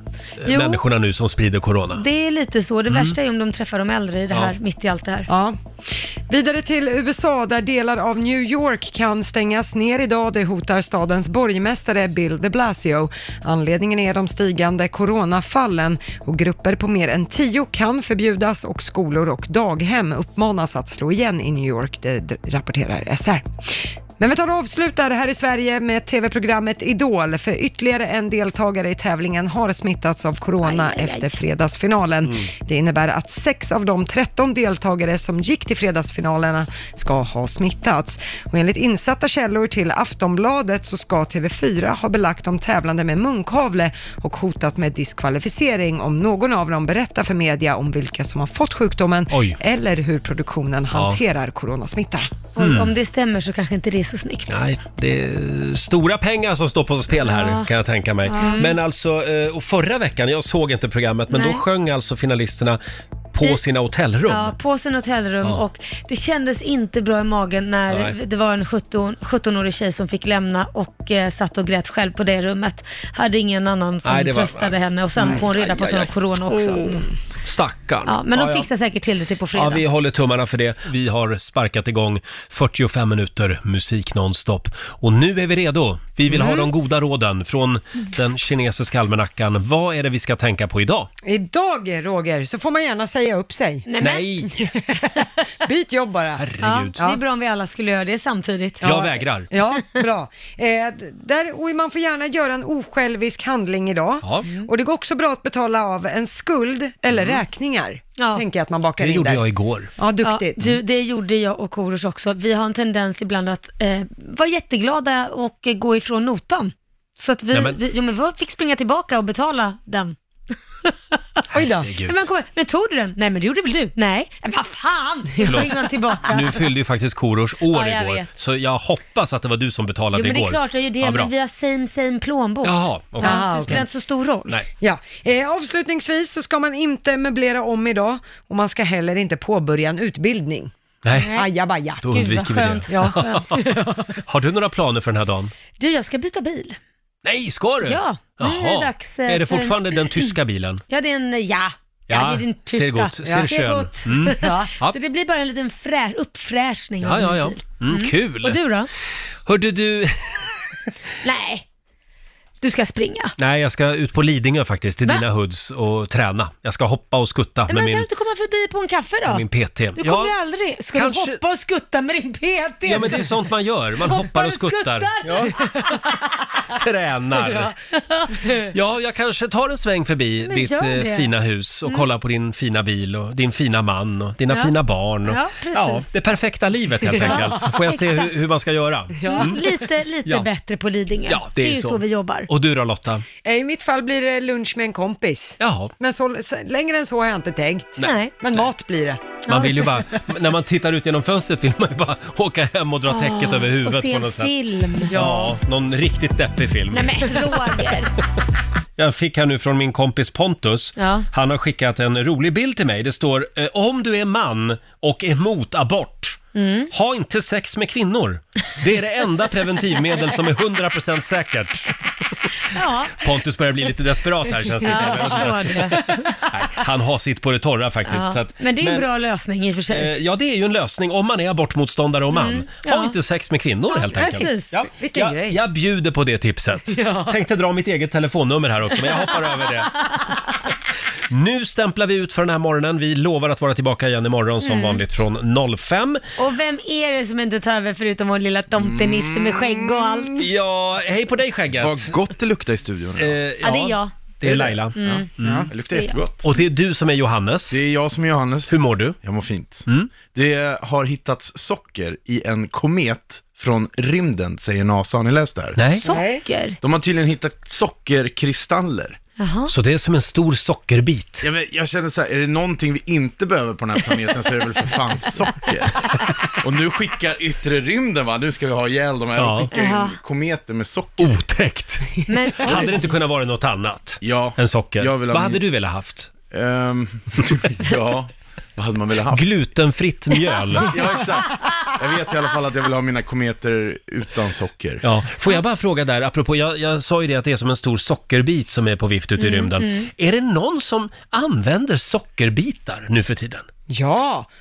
S4: Jo.
S1: människorna nu som sprider corona?
S4: Det är lite så, det
S1: Mm.
S4: värsta är om de träffar de äldre i det
S1: Ja.
S4: här, mitt i allt det här.
S2: Ja. Vidare till USA där delar av New York kan stängas ner idag. Det hotar stadens borgmästare Bill de Blasio. Anledningen är de stigande coronafallen och grupper på mer än tio kan förbjudas och skolor och daghem uppmanas att slå igen i New York, det d- rapporterar SR. Men vi tar och avslutar här i Sverige med tv-programmet Idol, för ytterligare en deltagare i tävlingen har smittats av corona efter fredagsfinalen.
S1: Mm.
S2: Det innebär att sex av de 13 deltagare som gick till fredagsfinalerna ska ha smittats. Och enligt insatta källor till Aftonbladet så ska TV4 ha belagt de tävlande med munkavle och hotat med diskvalificering om någon av dem berättar för media om vilka som har fått sjukdomen
S1: Oj.
S2: eller hur produktionen
S1: Ja.
S2: hanterar coronasmitta.
S4: Och
S1: Mm.
S4: om det stämmer så kanske inte det är så snyggt.
S1: Nej, det är stora pengar som står på spel här
S4: Ja.
S1: kan jag tänka mig.
S4: Mm.
S1: Men alltså, eh, och förra veckan, jag såg inte programmet, men
S4: Nej.
S1: då sjöng alltså finalisterna på
S4: I-
S1: sina hotellrum.
S4: Ja, på sin hotellrum
S1: Ja.
S4: och det kändes inte bra i magen när
S1: Nej.
S4: det var en 17 17-årig tjej som fick lämna och eh, satt och grät själv på det rummet. Hade ingen annan som
S1: Nej, det var-
S4: tröstade henne och sen får hon reda på att hon har corona också.
S1: Åh,
S4: Mm.
S1: Stackarn.
S4: Ja, men de
S1: Oh. ja.
S4: fixar säkert till det till på fredag.
S1: Ja, vi håller tummarna för det. Vi har sparkat igång 45 minuter musik nonstop. Och nu är vi redo. Vi vill ha
S2: Mm.
S1: de goda råden från den kinesiska almanackan. Vad är det vi ska tänka på idag?
S2: Idag, Roger, så får man gärna säga upp sig.
S4: Nej, men- Nej.
S2: Byt jobb bara.
S1: Herregud.
S4: Ja, det är bra om vi alla skulle göra det samtidigt.
S1: Jag vägrar.
S2: Ja, bra. Eh, d- där, och man får gärna göra en osjälvisk handling idag.
S1: Ja. Mm.
S2: Och det går också bra att betala av en skuld eller
S4: Mm.
S2: räkningar. Tänker jag att man bakar
S1: Det
S2: in
S1: gjorde
S2: där.
S1: jag igår.
S2: Ja, duktigt.
S4: du, det gjorde jag och Korosh också. Vi har en tendens ibland att eh, vara jätteglada och eh, gå ifrån notan. Så att vi,
S1: Nej, men-
S4: vi, jo, men vi fick springa tillbaka och betala den.
S2: Oj då.
S1: Herregud.
S4: Men, man kommer, men tog du den? Nej, men det gjorde väl du? Nej. Men Vad fan!
S1: Förlåt.
S4: Spring man tillbaka.
S1: Nu fyllde ju faktiskt Korosh år
S4: Ja, jag
S1: igår,
S4: vet.
S1: så jag hoppas att det var du som betalade
S4: jo, men det
S1: igår.
S4: är klart jag gör det,
S1: Ja, bra.
S4: men vi har same same plånbok.
S1: Jaha, okej.
S4: ja, så
S1: Ah,
S4: det
S1: okej.
S4: spelar inte så stor roll.
S1: Nej.
S2: Ja, eh, avslutningsvis så ska man inte möblera om idag och man ska heller inte påbörja en utbildning.
S1: Nej.
S2: Ajabaja.
S1: Då undviker vi det.
S2: Ja.
S1: Har du några planer för den här dagen?
S4: Du, jag ska byta bil.
S1: Nej, ska du?
S4: Ja, nu är det dags, eh,
S1: Är det
S4: för en-
S1: fortfarande den tyska bilen?
S4: Ja, det är en, ja. Ja, det är din tyska.
S1: ser gott, ser
S4: ja.
S1: skön.
S4: gott.
S1: Mm.
S4: Ja.
S1: Ja.
S4: Så det blir bara en liten frä, uppfräschning.
S1: Ja,
S4: av
S1: ja,
S4: din
S1: ja.
S4: bil.
S1: Mm, kul.
S4: Och du då?
S1: Hörde du...
S4: Nej. Du ska springa.
S1: Nej, jag ska ut på Lidingö faktiskt, till
S4: Va?
S1: dina hoods och träna. Jag ska hoppa och skutta
S4: Men
S1: med
S4: kan
S1: min,
S4: du inte komma förbi på en kaffe då?
S1: med min PT.
S4: Du
S1: ja,
S4: kommer ju aldrig... Ska
S1: kanske-
S4: du hoppa och skutta med din PT?
S1: ja, men det är sånt man gör. Man hoppar, och skuttar. Ja. Tränar. Ja. jag kanske tar en sväng förbi
S4: Men
S1: ditt
S4: gör
S1: eh,
S4: det.
S1: fina hus och
S4: Mm.
S1: kollar på din fina bil och din fina man och dina
S4: Ja.
S1: fina barn. Och,
S4: Ja, precis.
S1: det perfekta livet helt
S4: Ja,
S1: enkelt. Får jag se hur,
S4: exakt.
S1: hur man ska göra. Mm.
S4: Lite, lite
S1: Ja.
S4: bättre på Lidingö.
S1: Ja, det är,
S4: ju så. vi jobbar.
S1: Och du då Lotta?
S2: Eh, I mitt fall blir det lunch med en kompis.
S1: Jaha.
S2: Men så, s- längre än så har jag inte tänkt.
S1: Nej.
S2: Men mat blir det.
S1: Man vill ju bara, när man tittar ut genom fönstret vill man ju bara åka hem och dra täcket
S4: Ah,
S1: över huvudet
S4: och se
S1: på
S4: en
S1: något sätt.
S4: film.
S1: Ja, någon riktigt deppig film.
S4: Nej men Roger.
S1: Jag fick här nu från min kompis Pontus.
S4: Ja.
S1: Han har skickat en rolig bild till mig. Det står eh, “Om du är man och emot abort,
S4: Mm.
S1: ha inte sex med kvinnor. Det är det enda preventivmedel som är 100% säkert.”
S4: Ja.
S1: Pontus börjar bli lite desperat här känns det
S4: Ja,
S1: som.
S4: jag förstår det.
S1: Nej, Han har sitt på det torra faktiskt. Så
S4: Ja.
S1: att,
S4: Men det är en bra lösning i och för sig.
S1: Eh, Ja, det är ju en lösning om man är abortmotståndare och man.
S4: Mm,
S1: Ha
S4: ja.
S1: inte sex med kvinnor helt enkelt.
S4: precis.
S1: Ja,
S4: Vilken
S1: jag,
S4: grej.
S1: Jag bjuder på det tipset. Tänkte dra mitt eget telefonnummer här också, men jag hoppar över det. Nu stämplar vi ut för den här morgonen. Vi lovar att vara tillbaka igen imorgon som
S4: Mm.
S1: vanligt från 05.
S4: Och vem är det som inte tar över förutom vår lilla tomtenisse med skägg och
S1: Mm.
S4: allt?
S1: Ja, hej på dig skägget. Vad gott det luktar i studion. Eh, ja,
S4: Ja, det är jag.
S1: Det är Laila.
S4: Mm.
S1: Mm.
S18: Det luktar jättegott.
S1: Och det är du som är Johannes.
S18: Det är jag som är Johannes.
S1: Hur mår du? Mm.
S18: Jag mår fint. Det har hittats socker i en komet från rymden, säger NASA. Har ni läst det här?
S1: Nej.
S4: Socker?
S18: De har tydligen hittat sockerkristaller.
S4: Jaha.
S1: Så det är som en stor sockerbit.
S18: Ja, men jag känner så här, är det någonting vi inte behöver på den här planeten så är det väl för fan socker. Och nu skickar yttre rymden va, nu ska vi ha ihjäl de här,
S1: Ja.
S18: och skickar in
S1: Jaha.
S18: kometer med socker.
S1: Otäckt.
S4: Men,
S1: Hade det inte kunnat vara något annat
S18: ja.
S1: än socker?
S18: Jag vill ha
S1: Vad
S18: min-
S1: hade du velat haft?
S18: Ehm, ja, vad hade man velat haft?
S1: Glutenfritt mjöl.
S18: Ja, exakt. Jag vet i alla fall att jag vill ha mina kometer utan socker.
S1: Ja, får jag bara fråga där, apropå, jag, jag sa ju det att det är som en stor sockerbit som är på vift ute i
S4: Mm,
S1: rymden.
S4: mm.
S1: Är det någon som använder sockerbitar nu för tiden?
S2: Ja,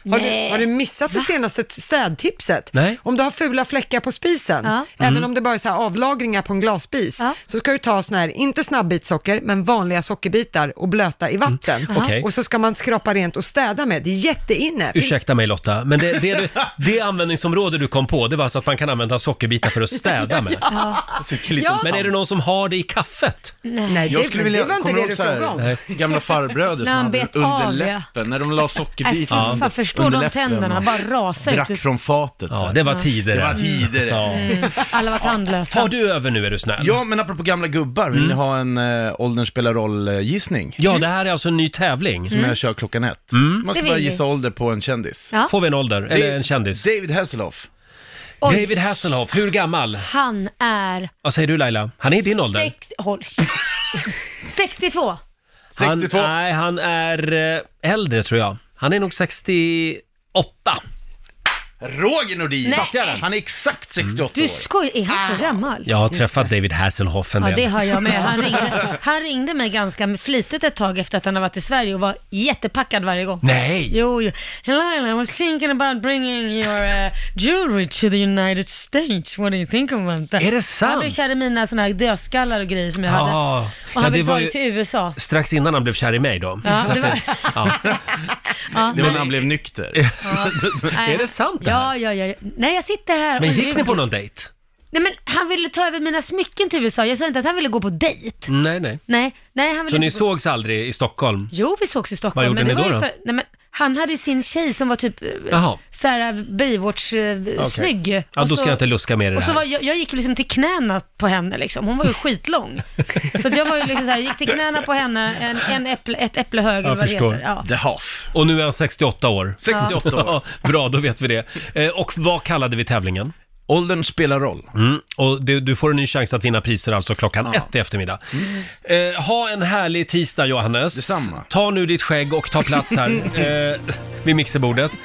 S2: har
S4: Nej.
S2: du, har du missat det senaste t- städtipset?
S1: Nej.
S2: Om du har fula fläckar på spisen,
S4: Ja.
S2: även
S1: Mm.
S2: om det bara är så här avlagringar på en glasspis, så ska du ta sån här, inte snabbbitsocker, men vanliga sockerbitar och blöta i vatten.
S1: Mm. Okej.
S2: Och så ska man skrapa rent och städa med, det är jätteinne.
S1: Ursäkta mig Lotta, men det, det, du- det användningsområde du kom på, det var alltså att man kan använda sockerbitar för att städa med.
S4: Ja.
S18: Alltså,
S2: Ja.
S1: Men är det någon som har det i kaffet?
S4: Nej,
S2: Nej,
S18: Jag
S2: det,
S18: skulle
S2: men
S18: vilja,
S2: det var inte
S18: kommer
S2: det
S18: du
S2: du
S18: ihåg så här,
S2: frågade om.
S18: gamla farbröder som
S4: När han
S18: hade
S4: bet
S18: under
S4: av, ja.
S18: läppen, när de la
S4: Nej, fy
S18: sockerbitar
S4: fan, förstår de tänderna bara typ. rasar
S18: drack
S4: ut.
S18: från fatet.
S1: Ja, det var tider
S18: tidigare. Det var
S1: det.
S18: tidigare.
S1: Ja.
S4: Mm. Alla var tandlösa.
S1: Tar du över nu är du snäll? Mm.
S18: Ja, men apropå gamla gubbar, vill ni ha en äh, åldern spelar roll-gissning?
S1: Ja, det här är alltså en ny tävling.
S18: Som
S1: Mm.
S18: jag kör klockan ett. Man ska
S1: Det
S18: bara
S1: vill vi.
S18: gissa ålder på en kändis.
S4: Ja.
S1: Får vi en ålder, eller en kändis?
S18: David Hasselhoff.
S4: Oj.
S1: David Hasselhoff, hur gammal?
S4: Han är...
S1: Vad säger du Laila? Han är i din ålder?
S4: Sex... Håll käft. 62.
S1: Han- nej, han är eh, äldre tror jag. Han är nog 68.
S18: Roger Nordin!
S4: Nej.
S18: Satt jag den? Han är exakt
S1: Mm.
S18: 68
S4: Du
S18: år.
S4: skojar, är han så gammal?
S1: Jag har träffat David Hasselhoff en
S4: Ja,
S1: del.
S4: det har jag med. Han ringde, han ringde mig ganska flitigt ett tag efter att han har varit i Sverige och var jättepackad varje gång.
S1: Nej.
S4: Jo, jo. Helena, I was thinking about bringing your uh, jewelry to the United States. What do you think about that?
S1: Är det sant?
S4: Han blev kär i mina såna här dödskallar och grejer som jag hade.
S1: Ja,
S4: Och han
S1: ja,
S4: ville
S1: det
S4: ta
S1: var
S4: det
S1: ju
S4: till USA.
S1: strax innan han blev kär i mig då.
S4: Ja,
S1: Så att
S4: det var-
S1: ja.
S4: Ja,
S18: Det var
S4: men-
S18: när han blev nykter.
S4: Nej.
S1: Är det sant det här?
S4: Ja, ja, ja. ja. Nej, jag sitter här
S1: Men
S4: och-
S1: gick ni på någon dejt?
S4: Nej, men han ville ta över mina smycken till USA. Jag sa inte att han ville gå på dejt.
S1: Nej, nej.
S4: Nej, nej, han ville
S1: Så ni
S4: inte gå...
S1: sågs aldrig i Stockholm?
S4: Jo, vi sågs i Stockholm.
S1: Vad gjorde
S4: men det
S1: ni
S4: var
S1: då
S4: ju
S1: då?
S4: Nej, men han hade ju sin tjej som var typ eh,
S1: Jaha.
S4: så här Baywatch-snygg.
S1: Okej. Ja, då ska jag inte luska mer i det
S4: Och så
S1: här.
S4: var jag, jag gick ju liksom till knäna på henne liksom. Hon var ju skitlång. så att jag var ju liksom så här, gick till knäna på henne, en, en äpple, ett äpple högre,
S1: Jag
S4: vad det
S1: förstår.
S4: heter. Ja.
S18: The Hoff.
S1: Och nu är han 68 år.
S18: 68 år.
S1: Ja, Bra, då vet vi det. Eh, Och vad kallade vi tävlingen?
S18: Åldern spelar roll.
S1: Mm. Och du, du får en ny chans att vinna priser alltså klockan ett i eftermiddag.
S18: Mm.
S1: Eh, ha en härlig tisdag Johannes. Detsamma. Ta nu ditt skägg och ta plats här eh, vid mixerbordet.